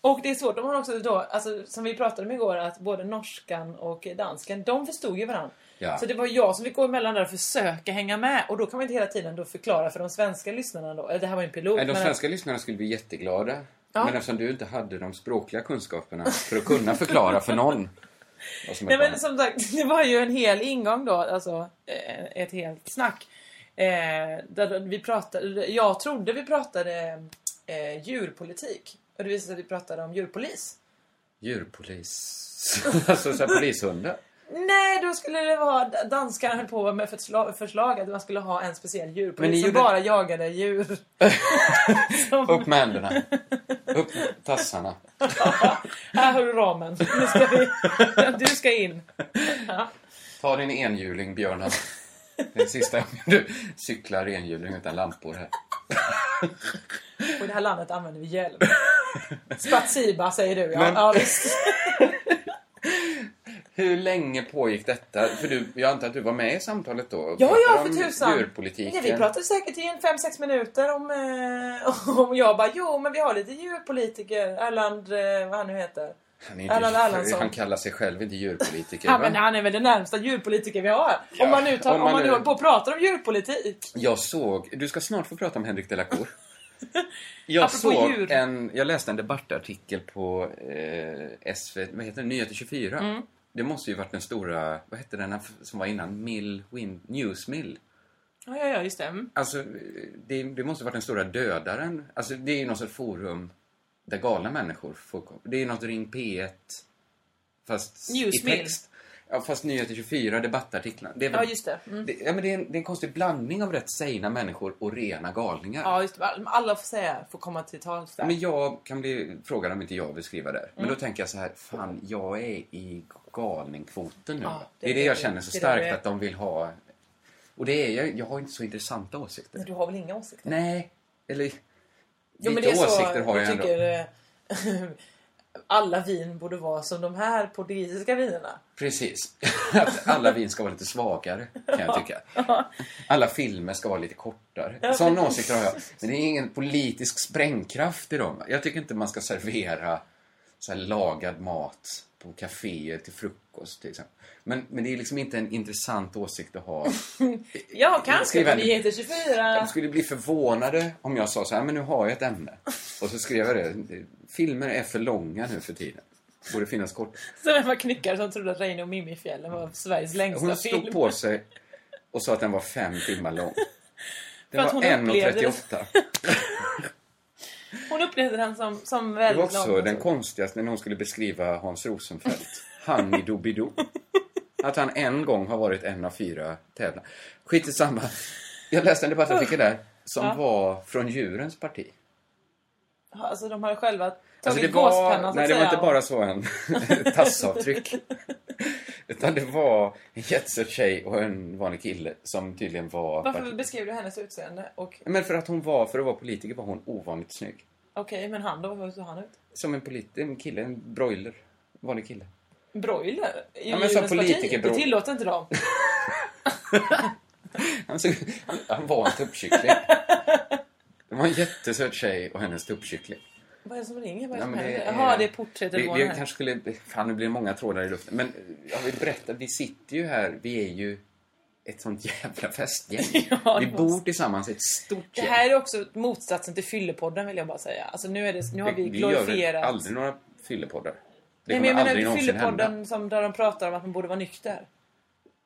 S5: Och det är svårt, de har också då, alltså, som vi pratade om igår, att både norskan och danskan, de förstod ju varandra.
S6: Ja.
S5: Så det var jag som fick gå emellan där och försöka hänga med. Och då kan man inte hela tiden då förklara för de svenska lyssnarna då, eller det här var ju en pilot.
S6: Nej, de
S5: men-
S6: svenska lyssnarna skulle bli jätteglada.
S5: Ja.
S6: Men eftersom du inte hade de språkliga kunskaperna för att kunna förklara för någon. vad som är
S5: Nej men som
S6: planen.
S5: sagt, det var ju en hel ingång då, alltså eh, ett helt snack. Eh, där vi pratade, jag trodde vi pratade eh, djurpolitik. Och det visade sig att vi pratade om djurpolis.
S6: Djurpolis. alltså så här polishundar.
S5: Nej, då skulle det vara danskarna höll på med förslag, förslag att man skulle ha en speciell
S6: Men ni
S5: djurpolis som
S6: gjorde-
S5: bara jagade djur.
S6: Upp med händerna. Upp med tassarna.
S5: Här har du ramen. Nu ska vi... Du ska in. Ja.
S6: Ta din enhjuling, björnen. Det är sista gången du cyklar enhjuling utan lampor här.
S5: Och i det här landet använder vi hjälm. Spatsiba säger du, ja.
S6: Men-
S5: ja visst.
S6: Hur länge pågick detta? För du, jag antar att du var med i samtalet då? och
S5: Ja, ja,
S6: pratade
S5: för
S6: om
S5: tusan.
S6: Djurpolitiken.
S5: Nej, vi pratade säkert i en 5-6 minuter om, eh, om jag bara, jo men vi har lite djurpolitiker, Erland, eh, vad han nu heter.
S6: Han, är inte,
S5: Erland Erlandsson.
S6: han kallar sig själv inte djurpolitiker.
S5: Ja,
S6: va?
S5: men han är väl den närmsta djurpolitiker vi har.
S6: Ja,
S5: om man nu, tar,
S6: om
S5: om
S6: man
S5: man nu
S6: nu-
S5: håller på och pratar om djurpolitik.
S6: Jag såg... Du ska snart få prata om Henrik de la Cour. Jag
S5: Apropå
S6: såg
S5: djur.
S6: en... Jag läste en debattartikel på eh, SVT... Vad heter det? Nyheter 24.
S5: Mm.
S6: Det måste ju varit den stora... Vad hette den här f- som var innan? Mill... Win, Newsmill.
S5: Ja, ja, ja, just det. Mm.
S6: Alltså, det, det måste ha varit den stora dödaren. Alltså, det är ju något sorts forum där galna människor får... kom- Det är något Ring P1, fast
S5: Newsmill.
S6: i text. Ja, fast Nyheter 24, debattartiklar. Det är väl,
S5: Ja, just det. Mm.
S6: det, ja, men det, är en, det är en konstig blandning av rätt sena människor och rena galningar.
S5: Ja, just det. Alla får säga, får komma till tals där.
S6: Men jag kan bli frågad om inte jag vill skriva där. Men
S5: Mm.
S6: då tänker jag så här, fan, jag är i galningkvoten nu.
S5: Ja,
S6: det,
S5: det
S6: är det
S5: är
S6: jag
S5: du.
S6: känner så
S5: Det är där
S6: starkt
S5: du är.
S6: att de vill ha... Och det är jag, jag har inte så intressanta åsikter.
S5: Men Du har väl inga åsikter?
S6: Nej, Eller,
S5: Jo, men
S6: lite
S5: det är
S6: åsikter
S5: så,
S6: har jag ändå.
S5: tycker eh, alla vin borde vara som de här portugisiska vinerna.
S6: Precis. Att alla vin ska vara lite svagare, kan jag tycka. Alla filmer ska vara lite kortare.
S5: Ja,
S6: Sådana
S5: precis.
S6: åsikter har jag. Men det är ingen politisk sprängkraft i dem. Jag tycker inte man ska servera så här lagad mat på kaféer till frukost, till exempel. Men, men det är liksom inte en intressant åsikt att ha.
S5: Ja,
S6: Skriv
S5: kanske.
S6: en-
S5: Nyheter 24.
S6: De skulle bli förvånade om jag sa så här, men nu har jag ett ämne. Och så skrev jag det. Filmer är för långa nu för tiden. Borde finnas kort.
S5: Sen var man knyckare som trodde att Reine och Mimifjällen var Sveriges längsta
S6: Hon
S5: film.
S6: stod på sig och sa att den var fem timmar lång.
S5: För
S6: Den
S5: att
S6: var
S5: hon upplevde det.
S6: 1.38.
S5: Hon upplevde den som, som
S6: Det var
S5: väldigt lång.
S6: också den konstigaste när hon skulle beskriva Hans Rosenfeldt. Han i Doobidoo. Att han en gång har varit en av fyra tävlande. Skit i samma. Jag läste en debattartikel där som
S5: Ja.
S6: var från djurens parti.
S5: Alltså de har själva tagit
S6: Alltså det
S5: gåspennan så
S6: var,
S5: att
S6: nej, det var
S5: säga.
S6: inte bara så en tassavtryck. Utan det var en jetset-tjej och en vanlig kille som tydligen var...
S5: Varför beskrev du hennes utseende? Och
S6: Men för att hon var, för att vara politiker var hon ovanligt snygg.
S5: okej, men han då? Hur såg han ut?
S6: Som en, polit, en kille, en broiler. En vanlig kille.
S5: Broiler? I
S6: Ja, men som
S5: djurens parti?
S6: politikerbro-
S5: Det tillåter inte dem.
S6: Han, såg, han, han var en tuppkyckling. Det var en jättesöt tjej och hennes tuppkyckling.
S5: Vad är det som ringer? Vad är det
S6: Ja,
S5: som
S6: men det
S5: händer?
S6: är-
S5: Jaha, det är porträttet
S6: Vi,
S5: på
S6: vi
S5: den här.
S6: kanske skulle... Fan, nu blir det många trådar i luften. Men jag vill berätta, vi sitter ju här, vi är ju ett sånt jävla festgäng. vi bor tillsammans i ett stort
S5: Det
S6: gäng.
S5: här är också motsatsen till fyllepodden vill jag bara säga. Alltså nu, är det, nu har vi,
S6: vi gör väl
S5: glorifierat.
S6: aldrig några fyllepoddar. Det
S5: Nej,
S6: kommer
S5: men jag
S6: aldrig
S5: menar
S6: någonsin hända.
S5: fyllepodden som, där de pratar om att man borde vara nykter.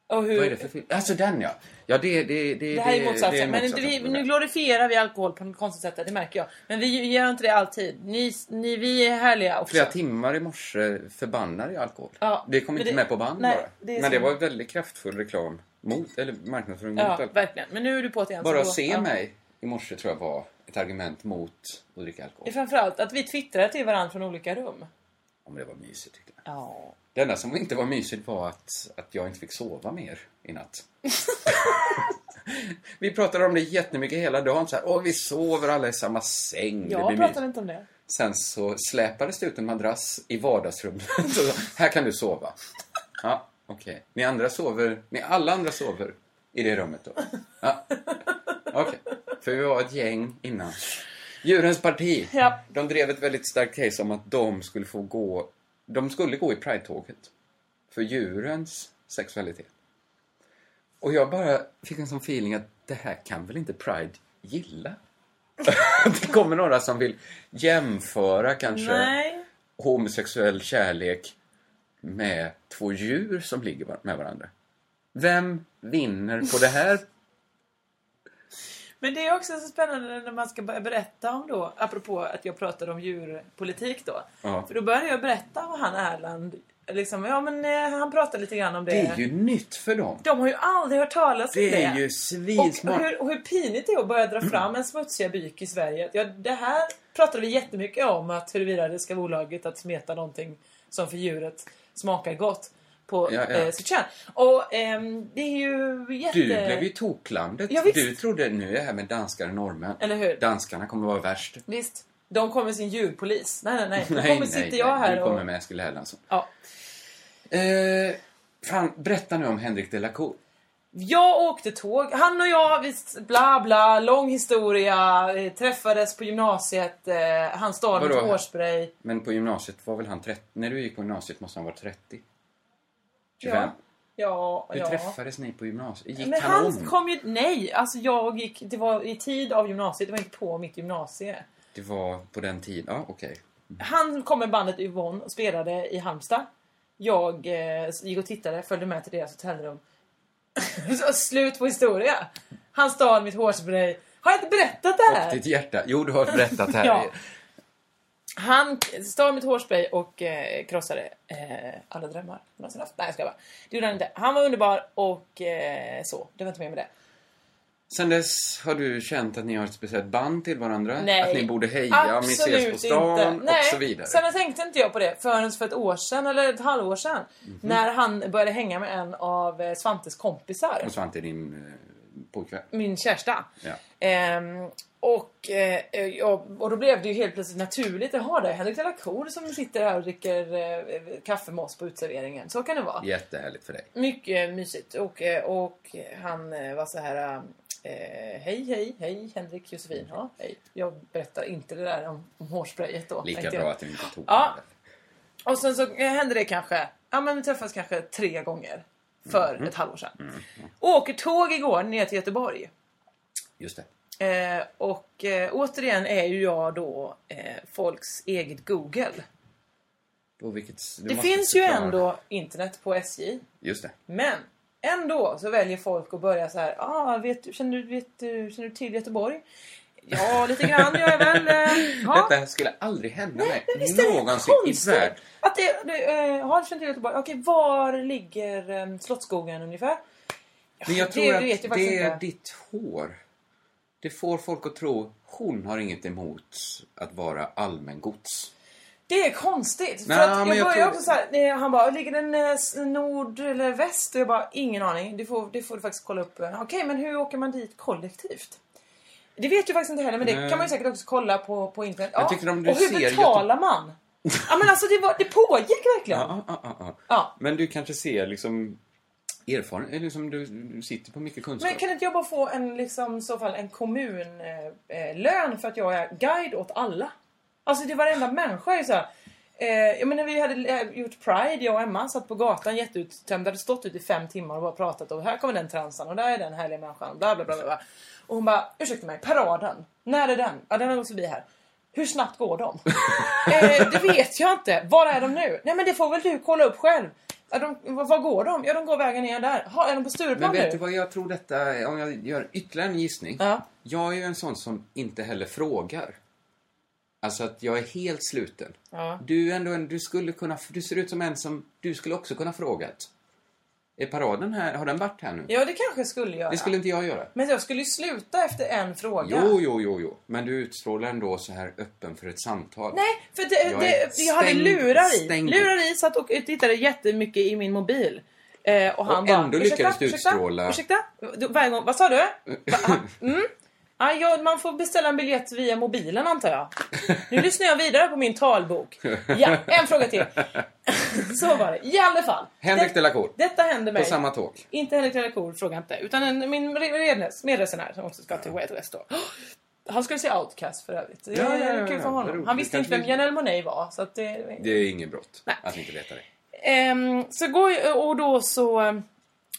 S5: Och hur,
S6: Vad är det för fyll... Alltså den ja! Ja, det, det, det,
S5: Det här är motsatsen.
S6: det är
S5: men inte vi,
S6: motsatsen.
S5: nu glorifierar vi alkohol på ett konstigt sätt, det märker jag. Men vi gör inte det alltid. Ni, ni, vi är härliga också.
S6: Flera timmar i morse förbannade jag alkohol.
S5: Ja,
S6: det kom
S5: men
S6: inte
S5: det-
S6: med på band
S5: nej,
S6: bara.
S5: det är
S6: men det
S5: så.
S6: var väldigt kraftfull reklam mot, eller marknadsföring mot
S5: Ja,
S6: alkohol.
S5: verkligen. Men nu är du på det igen. så
S6: Bara
S5: Alltså, då-
S6: att se
S5: ja.
S6: mig i morse tror jag var ett argument mot att dricka alkohol.
S5: Det är framförallt att vi twittrar till varandra från olika rum.
S6: Om det var mysigt tyckte jag.
S5: Ja.
S6: Det enda som inte var mysigt var att, att jag inte fick sova mer i natt. vi pratade om det jättemycket hela dagen. Så här, Åh, vi sover alla i samma säng. det
S5: Jag
S6: blir
S5: pratar
S6: mysigt.
S5: inte om det.
S6: Sen så släpades det ut en madrass i vardagsrummet. Så, här kan du sova. Ja, okej. Ni andra sover, ni alla andra sover i det rummet då. Ja, okej. För vi var ett gäng innan. Djurens parti.
S5: Ja.
S6: De drev ett väldigt starkt case om att de skulle få gå, de skulle gå i Pride-tåget. För djurens sexualitet. Och jag bara fick en sån feeling att det här kan väl inte Pride gilla? det kommer några som vill jämföra kanske
S5: Nej.
S6: homosexuell kärlek med två djur som ligger var- med varandra. Vem vinner på det här?
S5: Men det är också så spännande när man ska börja berätta om då, apropå att jag pratade om djurpolitik då.
S6: Ja.
S5: För då började jag berätta om han Erland, liksom, ja men eh, han pratade lite grann om det.
S6: Det är ju nytt för dem.
S5: De har ju aldrig hört talas om det.
S6: Det är ju
S5: och,
S6: svinsmart. Mm.
S5: och, hur, och hur pinigt det är att börja dra fram en smutsiga byk i Sverige. Ja, det här pratade vi jättemycket om, att huruvida det ska vara olagligt att smeta någonting som för djuret smakar gott på
S6: Ja, ja.
S5: Eh, sitt kön. Och ehm, det är ju jätte...
S6: Du blev ju toklandet.
S5: Ja, visst.
S6: du trodde nu är det här med danskar och norrmän.
S5: Eller hur?
S6: Danskarna kommer vara värst.
S5: Visst, de kommer med sin djurpolis. Nej, nej, nej. Då kommer sitter jag här
S6: du
S5: och...
S6: kommer med Eskil Erlandsson.
S5: Ja.
S6: Eh, fan, berätta nu om Henrik de la Cour.
S5: Jag åkte tåg, han och jag, vi bla bla, lång historia, eh, träffades på gymnasiet, eh, han stal mitt
S6: Vadå?
S5: hårspray.
S6: Men på gymnasiet var väl han 30? När du gick på gymnasiet måste han vara 30? 25?
S5: Ja, ja,
S6: Hur
S5: ja.
S6: träffades ni på gymnasiet? Gick
S5: Men
S6: han,
S5: han
S6: om?
S5: kom ju, nej, alltså jag gick, det var i tid av gymnasiet, det var inte på mitt gymnasie.
S6: Det var på den tiden, ja okej.
S5: Han kom med bandet Yvonne och spelade i Halmstad. Jag eh, gick och tittade, följde med till deras hotellrum. Så, Slut på historia. Han stal mitt hårspray. Har jag inte berättat det här?
S6: Och ditt hjärta? Jo, du har berättat här.
S5: Ja. Han stal mitt hårspray och eh, krossade eh, alla drömmar jag någonsin haft. Nej, jag skojar bara. Det gjorde han inte. Han var underbar och eh, så. Det var inte mer med det.
S6: Sen dess har du känt att ni har ett speciellt band till varandra?
S5: Nej,
S6: att ni borde heja om ni ses på stan
S5: inte. Nej,
S6: och så vidare?
S5: Sen tänkte inte jag på det förrän för ett år sedan, eller ett halvår sedan.
S6: Mhm.
S5: När han började hänga med en av eh, Svantes kompisar. Mm.
S6: Och Svante, din eh, pojkvän?
S5: Min kärsta.
S6: Ja.
S5: Ehm, och Och, eh, ja, och då blev det ju helt plötsligt naturligt. Jaha, det är Henrik de la Cour som sitter här och dricker eh, kaffe med oss på uteserveringen. Så kan det vara.
S6: Jättehärligt för dig.
S5: Mycket mysigt. Och, eh, och han eh, var så här... Eh, hej, hej, hej Henrik, Josefin. Ja, hej. Jag berättar inte det där om, om hårsprayet då.
S6: Lika
S5: tänkte
S6: bra
S5: jag.
S6: att du inte tog
S5: Ja. Och sen så eh, hände det kanske... Ja, men vi träffades kanske tre gånger
S6: Mm,
S5: för ett halvår sedan. Åker tåg igår ner till Göteborg.
S6: Just det.
S5: Eh, och eh, återigen är ju jag då eh, folks eget Google.
S6: På vilket, du
S5: det
S6: måste
S5: finns ju
S6: förklara-
S5: ändå internet på SJ.
S6: Just det.
S5: Men ändå så väljer folk att börja så här. Ah, vet, du- känner, du, vet du, känner du till Göteborg? Ja, lite grann gör jag väl. Eh, ja.
S6: Detta skulle aldrig hända mig
S5: men visst är det
S6: någonsin i
S5: konstigt?
S6: världen.
S5: Att det, det, eh, har du känt till Göteborg? Okej, var ligger eh, Slottsskogen ungefär?
S6: Men jag
S5: Det
S6: tror
S5: vet jag
S6: att
S5: faktiskt
S6: det är
S5: inte.
S6: ditt hår. Det får folk att tro hon har inget emot att vara allmängods.
S5: Det är konstigt.
S6: Nej,
S5: för att jag
S6: men jag
S5: började
S6: tror-
S5: också så här, eh, han bara, ligger den eh, s- nord eller väst? Och jag bara, ingen aning. Det får, det får du faktiskt kolla upp. Okej, men hur åker man dit kollektivt? Det vet jag faktiskt inte heller, men det
S6: Nej.
S5: kan man ju säkert också kolla på, på internet.
S6: Jag tycker om du
S5: och hur
S6: ser
S5: betalar man? ja, men alltså det, var, det pågick verkligen.
S6: Ja, ja, ja, ja.
S5: Ja.
S6: Men du kanske ser liksom erfarenhet, liksom du, du sitter på mycket kunskap.
S5: Men kan inte jag bara få en, liksom, i så fall, en kommunlön eh, lön för att jag är guide åt alla? Alltså det är varenda människa är så här. Eh, jag menar, vi hade eh, gjort Pride, jag och Emma satt på gatan jätteuttömda, hade stått ute i fem timmar och bara pratat om här kommer den transan och där är den härliga människan bla bla bla. bla. bla. Och hon bara, ursäkta mig, paraden, när är den? Ja den har gått förbi här. Hur snabbt går de? eh, det vet jag inte. Var är de nu? Nej men det får väl du kolla upp själv. Ja, de, var var går de? Ja de går vägen ner där. Ha, är de på Stureplan
S6: Men
S5: nu?
S6: vet du vad jag tror detta är? Om jag gör ytterligare en gissning. Jag är ju en sån som inte heller frågar. Alltså att jag är helt sluten.
S5: Ja.
S6: Du, är ändå en, du, skulle kunna, du ser ut som en som du skulle också kunna frågat. Är paraden här? Har den varit här nu?
S5: Ja, det kanske jag skulle göra.
S6: Det skulle inte jag göra.
S5: Men jag skulle ju sluta efter en fråga.
S6: Jo, jo, jo, jo. Men du utstrålar ändå så här öppen för ett samtal.
S5: Nej, för det, jag,
S6: Jag
S5: det,
S6: är
S5: jag hade
S6: stängd-
S5: lurar i.
S6: stängd.
S5: Lurar i, satt och tittade jättemycket i min mobil. Eh, och han
S6: Och
S5: bara,
S6: ändå lyckades du utstråla-
S5: Ursäkta? Du- Varje gång, vad sa du? Va- han- Mm? Ah, ja, man får beställa en biljett via mobilen antar jag. Nu lyssnar jag vidare på min talbok. Ja, en fråga till. Så var det. I alla fall.
S6: Henrik
S5: Det-
S6: de la Cour.
S5: Detta hände mig.
S6: På samma tåg.
S5: Inte Henrik Lellecour frågar inte. Utan en, min re- rednes- medresenär som också ska till Way West då. Han skulle se Outcast för övrigt. Det är
S6: Ja, ja, ja,
S5: kul
S6: ja,
S5: för
S6: vad
S5: honom.
S6: roligt.
S5: Han visste
S6: Det
S5: inte vem
S6: kanske-
S5: Janelle Monáe var. Så att det...
S6: Det är inget brott att inte veta det.
S5: Ehm, så går jag, och då så ehm,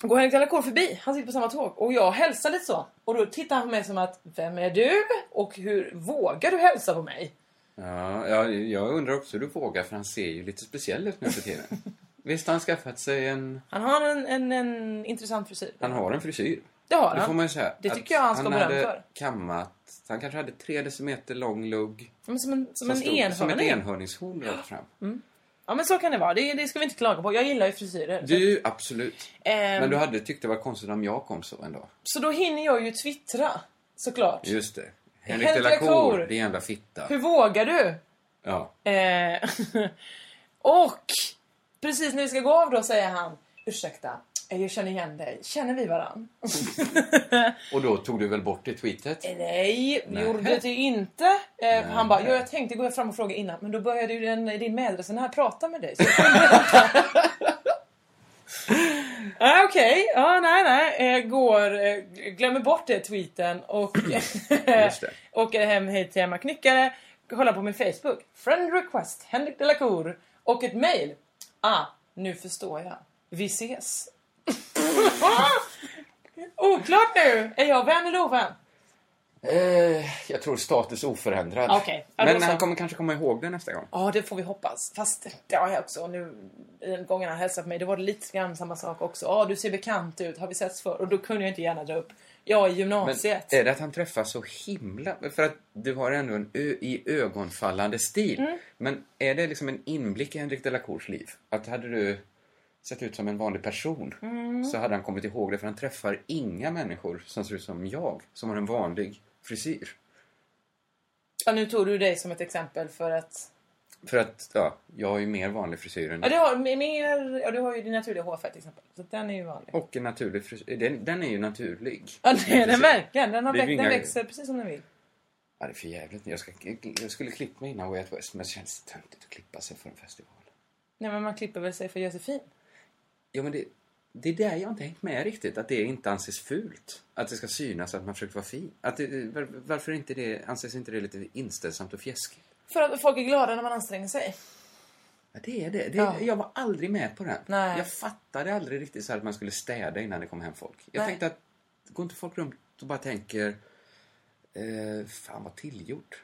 S5: går Henrik Lellecour förbi. Han sitter på samma tåg. Och jag hälsar lite så. Och då tittar han på mig som att Vem är du? Och hur vågar du hälsa på mig?
S6: Ja, jag, jag undrar också hur du vågar för han ser ju lite speciell ut nu för tiden. Visst har han skaffat sig en...
S5: Han har en, en, en intressant frisyr.
S6: Han har en frisyr.
S5: Det har
S6: Det
S5: han.
S6: får man ju säga.
S5: Det
S6: Att
S5: tycker jag han ska ha beröm
S6: hade
S5: för.
S6: kammat... Han kanske hade tre decimeter lång lugg.
S5: Men som en, som en
S6: stod- Som ett
S5: enhörning.
S6: enhörningshorn rakt fram.
S5: Ja men så kan det vara. Det, det ska vi inte klaga på. Jag gillar ju frisyrer.
S6: Du, absolut.
S5: Ehm.
S6: Men du hade tyckt det var konstigt om jag kom så en dag.
S5: Så då hinner jag ju twittra. Såklart.
S6: Just det.
S5: Henrik
S6: Henrik de
S5: de
S6: la
S5: la Cour.
S6: Cour, din jävla fitta.
S5: Hur vågar du?
S6: Ja.
S5: Eh, och precis när vi ska gå av då säger han Ursäkta, eh, jag känner igen dig. Känner vi varann?
S6: Och då tog du väl bort det tweetet?
S5: Eh, Nej, det
S6: Nej.
S5: gjorde det ju inte. Eh, han bara, ja, jag tänkte gå fram och fråga innan. Men då började ju den, din medresenär prata med dig. Så jag kunde inte. Ah, Okej, ja nej nej. Eh, går, eh, glömmer bort det tweeten och åker hem hit till Emma Knyckare. Kollar på min Facebook. Friend request, Henrik de la Cour. Och ett mail. Ah, nu förstår jag. Vi ses. Oklart nu! Är jag vän eller ovän?
S6: Eh, jag tror status oförändrad.
S5: Okej, ja, då
S6: Men
S5: så.
S6: han kommer kanske komma ihåg det nästa gång.
S5: Ja, det får vi hoppas. Fast det har jag också nu den gången han hälsade på mig, det var det lite grann samma sak också. Ja, du ser bekant ut. Har vi setts förr? Och då kunde jag inte gärna dra upp. Jag i
S6: Men eh,
S5: gymnasiet.
S6: är det att han träffas så himla... För att du har ändå en ö, i ögonfallande stil.
S5: Mm.
S6: Men är det liksom en inblick i Henrik de la Cours liv? Att hade du sett ut som en vanlig person
S5: Mm.
S6: så hade han kommit ihåg det för han träffar inga människor som ser ut som jag, som har en vanlig frisyr.
S5: Ja, nu tog du dig som ett exempel för att...
S6: För att, ja, jag har ju mer vanlig frisyr än
S5: Ja, du har, mer... ja, du har ju din naturliga hårfärg till exempel. Så att den är ju vanlig.
S6: Och en naturlig frisyr. Den, den är ju naturlig.
S5: Ja, det är den verkligen. Den, har
S6: Det är
S5: växt,
S6: ju
S5: den
S6: inga-
S5: växer precis som den vill.
S6: Ja, Ja, det är för jävligt. Jag, ska, jag skulle klippa mig innan Way Out West, men det känns töntigt att klippa sig för en festival.
S5: Nej men man klipper väl sig för Josefin?
S6: Ja, men det, det är där jag inte hängt med riktigt, att det inte anses fult. Att det ska synas att man försöker vara fin. Att det, var, varför inte det, anses inte det lite inställsamt och fjäskigt?
S5: För att folk är glada när man anstränger sig.
S6: Ja, det är det. det
S5: Ja.
S6: Jag var aldrig med på den.
S5: Nej.
S6: Jag fattade aldrig riktigt så här att man skulle städa innan det kom hem folk. Jag
S5: Nej.
S6: tänkte att, går inte folk runt och bara tänker, eh, fan vad tillgjort.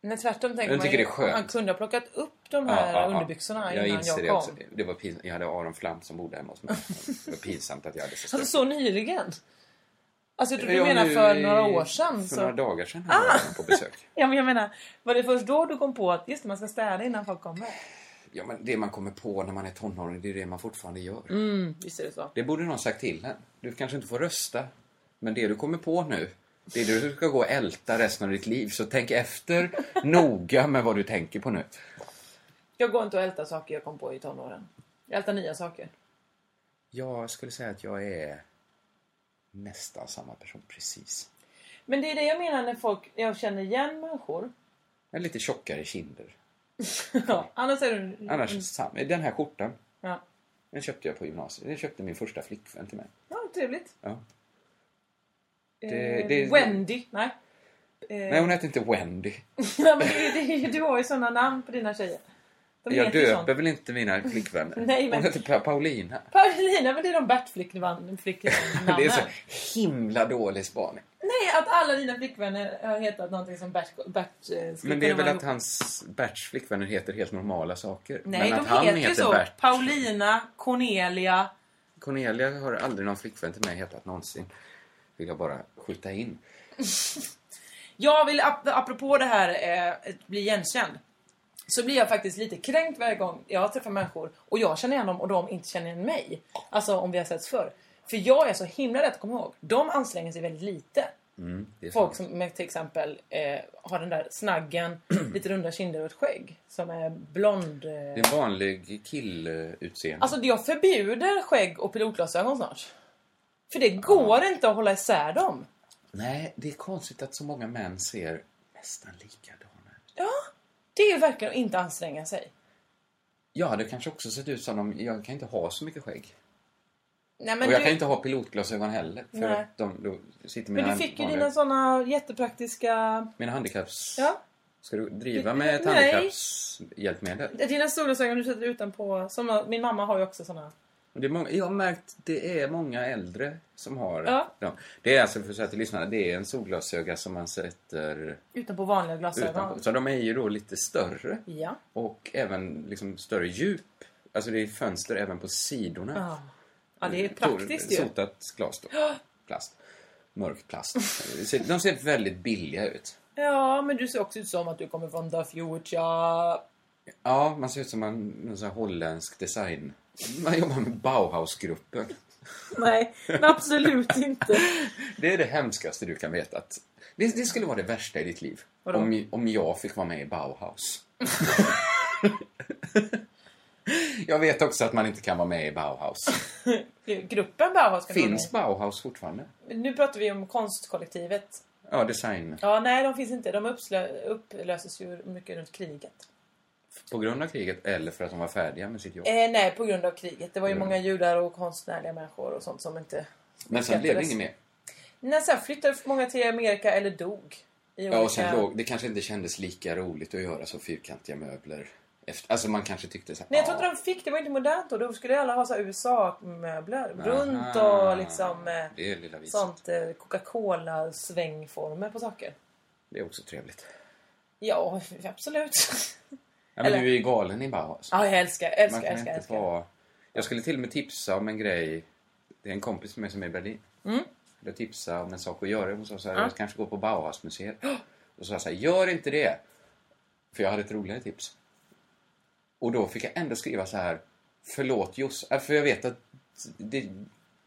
S5: Nej tvärtom tänker
S6: Jag
S5: man
S6: tycker
S5: ju,
S6: det är skönt.
S5: man kunde ha plockat upp de här underbyxorna
S6: jag
S5: innan
S6: inser
S5: jag
S6: det
S5: kom.
S6: också. Det var pinsamt. Jag hade Aron Flam som bodde hemma hos mig. Det var pinsamt att jag hade så
S5: Alltså så nyligen? Alltså jag tror du
S6: Ja,
S5: menar
S6: nu
S5: för
S6: i-
S5: några år sedan?
S6: För
S5: så.
S6: några dagar sedan
S5: Ah!
S6: hade jag honom på besök.
S5: Ja men jag menar, var det först då du kom på att just det, man ska städa innan folk kommer?
S6: Ja, men det man kommer på när man är tonåring, det är det man fortfarande gör.
S5: Mm, visst är det så.
S6: Det borde någon sagt till en. Du kanske inte får rösta, men det du kommer på nu, det är det du ska gå och älta resten av ditt liv. Så tänk efter noga med vad du tänker på nu.
S5: Jag går inte och ältar saker jag kom på i tonåren. Jag ältar nya saker.
S6: Jag skulle säga att jag är nästan samma person precis.
S5: Men det är det jag menar när folk, jag känner igen människor.
S6: Jag är lite tjockare kinder.
S5: Ja, annars är du...
S6: Annars är det samma. Den här skjortan,
S5: Ja.
S6: den köpte jag på gymnasiet. Den köpte min första flickvän till mig.
S5: ja, trevligt.
S6: Ja. Det-
S5: eh,
S6: det-
S5: Wendy, nej. Eh,
S6: Nej, hon hette inte Wendy.
S5: nej, men det, det, du har ju sådana namn på dina tjejer. De
S6: jag
S5: heter ju
S6: döper
S5: sånt.
S6: väl inte mina flickvänner?
S5: Nej, men-
S6: Hon heter Pa- Paulina.
S5: Paulina, men det är de Bert-flickvännerna.
S6: Det är så himla dålig spaning.
S5: Nej, att alla dina flickvänner har hetat någonting som Bert, Bert eh, skulle
S6: Men det är
S5: kunna
S6: väl
S5: vara
S6: att
S5: ihop.
S6: hans Berts flickvänner heter helt normala saker.
S5: Nej,
S6: men
S5: de
S6: att han
S5: heter ju så.
S6: Bert.
S5: Paulina, Cornelia.
S6: Cornelia har aldrig någon flickvän till mig hetat någonsin. Vill jag bara skjuta in.
S5: Jag vill, ap- apropå det här eh, att bli igenkänd. Så blir jag faktiskt lite kränkt varje gång jag träffar människor och jag känner igen dem och de inte känner igen mig. Alltså om vi har setts förr. För jag är så himla lätt att komma ihåg. De anstränger sig väldigt lite.
S6: Mm, det är
S5: Folk
S6: sant.
S5: som med till exempel eh, har den där snaggen, lite runda kinder och ett skägg. Som är blond. Eh,
S6: Det är en vanlig killutseende.
S5: Alltså jag förbjuder skägg och pilotglasögon snart. För det går inte att hålla isär dem.
S6: Nej, det är konstigt att så många män ser nästan likadana
S5: Ja, det är ju verkligen att inte anstränga sig.
S6: Jag hade kanske också sett ut som om jag kan inte ha så mycket skägg.
S5: Nej, men
S6: och jag
S5: du,
S6: kan inte ha pilotglasögon heller. För
S5: Nej.
S6: att de, då sitter mina,
S5: men du fick ju
S6: vanliga-
S5: dina såna jättepraktiska...
S6: mina handikapps...
S5: Ja.
S6: Ska du driva med ett
S5: Nej.
S6: handikappshjälpmedel?
S5: Dina solglasögon du sätter utanpå. Som, min mamma har ju också såna.
S6: Det är många, jag har märkt det är många äldre som har
S5: Ja.
S6: dem. Det är alltså, för att säga till lyssnarna, det är en solglasöga som man sätter
S5: Utanpå vanliga glasögon.
S6: utanpå. Så de är ju då lite större
S5: Ja.
S6: och även liksom större djup. Alltså det är fönster även på sidorna.
S5: Ja. ja, det är
S6: Tor-
S5: praktiskt ju.
S6: Sotat glas då. Plast. Mörk plast. De ser- De ser väldigt billiga ut.
S5: Ja, men du ser också ut som att du kommer från The Future.
S6: Ja, man ser ut som en, någon sån här holländsk design. Man jobbar med Bauhausgruppen.
S5: Nej, men absolut inte.
S6: Det är det hemskaste du kan veta. Att det, det skulle vara det värsta i ditt liv.
S5: Vadå?
S6: Om, om jag fick vara med i Bauhaus. jag vet också att man inte kan vara med i Bauhaus.
S5: Gruppen Bauhaus kan du
S6: Finns Bauhaus fortfarande?
S5: vara med. Nu pratar vi om konstkollektivet.
S6: Ja, design.
S5: Ja, nej de finns inte. De uppslö- upplöses ju mycket runt kriget.
S6: På grund av kriget eller för att de var färdiga med sitt jobb.
S5: Eh, nej, på grund av kriget. Det var ju
S6: Mm.
S5: många judar och konstnärliga människor och sånt som inte...
S6: Men sen blev det inget mer.
S5: Nej, sen flyttade för många till Amerika eller dog. I
S6: Ja, och sen låg, det kanske inte kändes lika roligt att göra så fyrkantiga möbler. Efter, alltså man kanske tyckte så här,
S5: Nej, jag tror inte de fick. Det var inte modernt då. Då skulle alla ha så här USA-möbler. Runt
S6: Aha.
S5: och liksom... eh,
S6: "Ah, Det är lilla viset.
S5: Sånt eh, Coca-Cola-svängformer på saker.
S6: det är också trevligt.
S5: Ja, absolut.
S6: Ja, men
S5: Eller-
S6: du är ju galen i Bauhaus.
S5: Ja, jag älskar,
S6: Man
S5: älskar,
S6: kan
S5: älskar,
S6: inte
S5: älskar.
S6: vara... Jag skulle till och med tipsa om en grej. Det är en kompis med mig som är i Berlin.
S5: Mm.
S6: Jag tipsade om en sak att göra. Hon sa så här,
S5: Ja.
S6: jag kanske går på Bauhausmuseet. Och så sa jag så här, gör inte det. För jag hade ett roligare tips. Och då fick jag ändå skriva så här, förlåt Joss. Äh, För jag vet att det,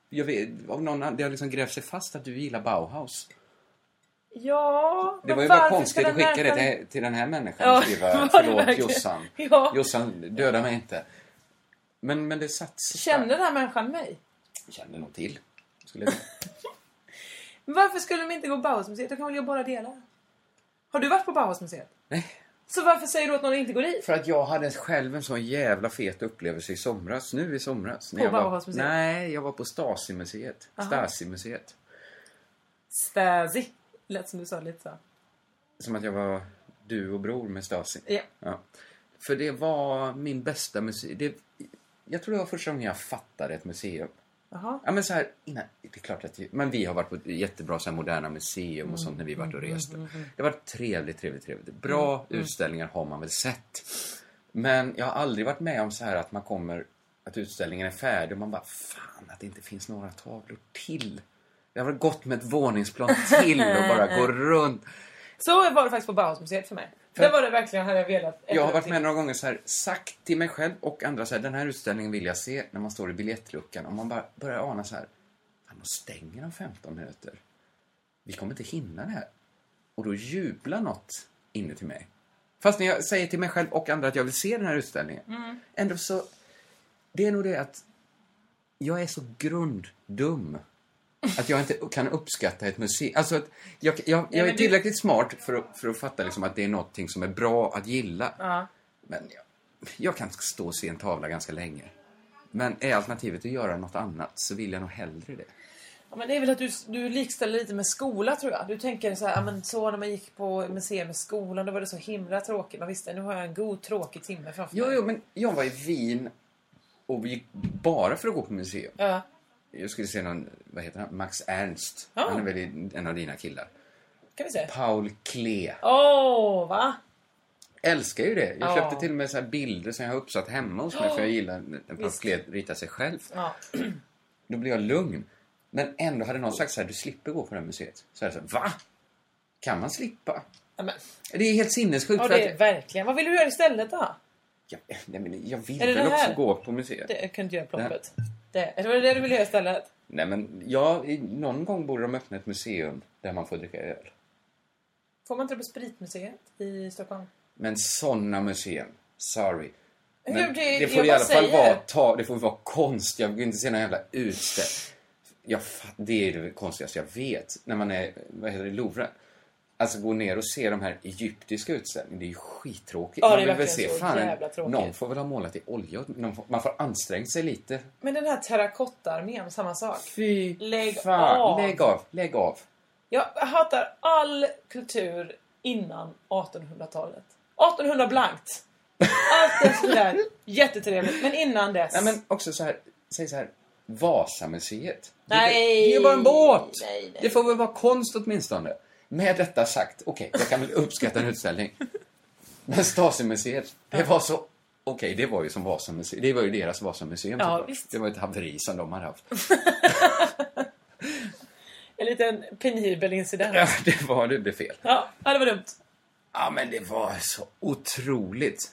S6: jag vet, av någon, an- det har liksom grävt sig fast att du gillar Bauhaus.
S5: Ja,
S6: Det
S5: men
S6: var ju bara
S5: varför
S6: konstigt
S5: ska
S6: att
S5: den här
S6: skicka det
S5: människan-
S6: till, till den här människan
S5: Ja,
S6: och skriva
S5: var det
S6: förlåt
S5: verkligen?
S6: Jossan.
S5: Ja.
S6: Jossan, döda mig inte. Men, men det satt sig
S5: Känner den här människan mig?
S6: kände nog till. Skulle jag...
S5: Men Varför skulle de inte gå Bauhausmuseet? Då kan väl jag bara dela? Har du varit på Bauhausmuseet?
S6: Nej.
S5: Så varför säger du att någon inte går dit?
S6: För att jag hade själv en sån jävla fet upplevelse i somras, nu i somras.
S5: På
S6: jag var,
S5: Bauhausmuseet?
S6: Nej, jag var på Stasi-museet.
S5: Aha.
S6: Stasi-museet.
S5: Stasi. Lät som du sa lite så.
S6: Som att jag var du och bror med Stasi.
S5: Ja.
S6: För det var min bästa musik. Det, jag tror det var första gången jag fattade ett museum.
S5: Jaha.
S6: Ja men så här, innan, det är klart att men vi har varit på jättebra så här, moderna museum
S5: Mm,
S6: och sånt när vi varit och
S5: mm,
S6: rest.
S5: mm, mm, mm.
S6: Det har varit trevligt, trevligt, trevligt. Bra
S5: Mm, mm.
S6: utställningar har man väl sett. Men jag har aldrig varit med om så här att man kommer, att utställningen är färdig och man bara, fan att det inte finns några tavlor till. Jag har gått med ett våningsplan till och bara gå runt.
S5: Så var det faktiskt på Bauhausmuseet för mig. Där var det verkligen, hade jag velat.
S6: Jag har varit med några gånger så här, sagt till mig själv och andra så här, den här utställningen vill jag se när man står i biljettluckan och man bara börjar ana så här, fan de stänger om 15 minuter. Vi kommer inte hinna det här. Och då jublar något inuti mig. Fast när jag säger till mig själv och andra att jag vill se den här utställningen,
S5: Mm.
S6: ändå så, det är nog det att jag är så grunddum att jag inte kan uppskatta ett museum. Alltså att jag, jag,
S5: Nej,
S6: jag
S5: men
S6: är
S5: du-
S6: tillräckligt smart för att, för att fatta liksom att det är någonting som är bra att gilla.
S5: Ja.
S6: Men jag, jag kan stå och se en tavla ganska länge. Men är alternativet att göra något annat så vill jag nog hellre det.
S5: Ja, men det är väl att du, du likställer lite med skola tror jag. Du tänker så här, ja, men så när man gick på museum i skolan då var det så himla tråkigt. Man visste nu har jag en god tråkig timme framför
S6: Jo,
S5: mig.
S6: jo, men jag var i Wien och vi gick bara för att gå på museum.
S5: Ja.
S6: Jag skulle se någon, vad heter han, Max Ernst.
S5: Ja.
S6: Han är väl i- en av dina killar.
S5: Kan vi säga.
S6: Paul Klee.
S5: Åh, va?
S6: Älskar ju det. Jag
S5: Ja.
S6: köpte till och med så här bilder som jag har uppsatt hemma hos mig för jag gillar när Paul
S5: Visst.
S6: Klee ritar sig själv.
S5: Ja.
S6: Då blir jag lugn. Men ändå hade någon sagt så här, du slipper gå på det här museet. Så jag sa, va? Kan man slippa?
S5: Ja, men,
S6: Det är helt sinnessjukt.
S5: ja,
S6: för
S5: det är
S6: att,
S5: verkligen. Vad vill du göra istället då?
S6: jag, nej, men jag vill
S5: Är det
S6: väl
S5: det här?
S6: också gå på museet.
S5: Det jag kunde inte göra
S6: Det här-
S5: ploppet. Det, det var det du ville göra istället?
S6: Nej, men ja, i- någon gång borde de öppna ett museum där man får dricka öl.
S5: Får man inte det på Spritmuseet i Stockholm?
S6: Men sådana museum, sorry.
S5: Hur
S6: Men
S5: det-
S6: det
S5: jag
S6: får i
S5: bara
S6: alla fall
S5: säger.
S6: vara, ta, det får vara konst. Jag vill inte se någon jävla utställning. Jag, fa- det är det konstigaste jag vet. När man är, vad heter det, Louvren. Alltså gå ner och se de här egyptiska utställningarna. Det är ju skittråkigt.
S5: Ja, det är
S6: man vill väl se,
S5: verkligen så
S6: fan,
S5: jävla tråkigt.
S6: någon får väl ha målat i olja. Någon får, man får anstränga sig lite.
S5: Men den här terrakottaarmén, samma sak.
S6: Fy
S5: Lägg
S6: Fan,
S5: av.
S6: lägg av, lägg av.
S5: Jag hatar all kultur innan 1800-talet. 1800 blankt. Allt det sådär. Jättetrevligt. Men innan dess.
S6: Nej, men också så här, säg så här, Vasamuseet.
S5: Nej.
S6: Det, det är ju bara en båt!
S5: Nej, nej.
S6: Det får väl vara konst åtminstone. Med detta sagt, okej, jag kan väl uppskatta en utställning. Men Stasimuseet, det var så... Okej, det var ju som Vasamuseet. Det var ju deras Vasamuseum
S5: Ja,
S6: såklart.
S5: visst.
S6: Det var ett haveri som de hade haft.
S5: En liten penibel incident.
S6: Ja, det var, det blev fel.
S5: Ja, ja, det var dumt.
S6: Ja, men det var så otroligt.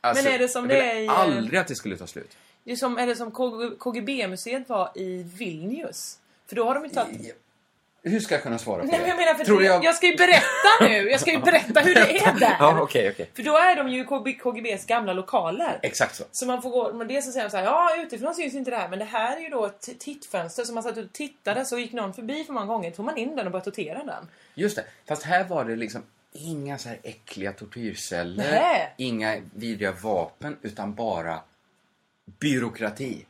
S6: Alltså,
S5: Men är det som
S6: jag
S5: det
S6: ville
S5: är i-
S6: aldrig att det skulle ta slut.
S5: Det är som, är det som KG KGB-museet var i Vilnius. För då har de ju tagit...
S6: Hur ska jag kunna svara på
S5: Nej, men
S6: det?
S5: jag menar för
S6: Tror du
S5: jag... jag ska ju berätta nu! Jag ska ju berätta hur det är där!
S6: Ja, okej, okej.
S5: För då är de ju i KB KGBs gamla lokaler.
S6: Exakt så.
S5: Så man får gå, men det så säger de så här, ja utifrån syns inte det här men det här är ju då ett t- tittfönster som man satt och tittade så gick någon förbi för många gånger, tog man in den och började tortera den.
S6: Just det. Fast här var det liksom inga så här äckliga tortyrceller.
S5: Nej.
S6: Inga vidriga vapen, utan bara byråkrati.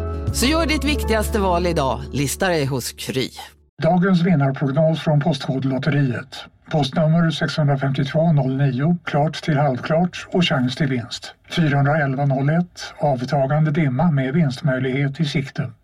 S12: Så gör ditt viktigaste val idag, listar dig hos Kry.
S13: Dagens vinnarprognos från Postkodlotteriet. Postnummer 65209, klart till halvklart och chans till vinst. 41101, avtagande dimma med vinstmöjlighet i sikte.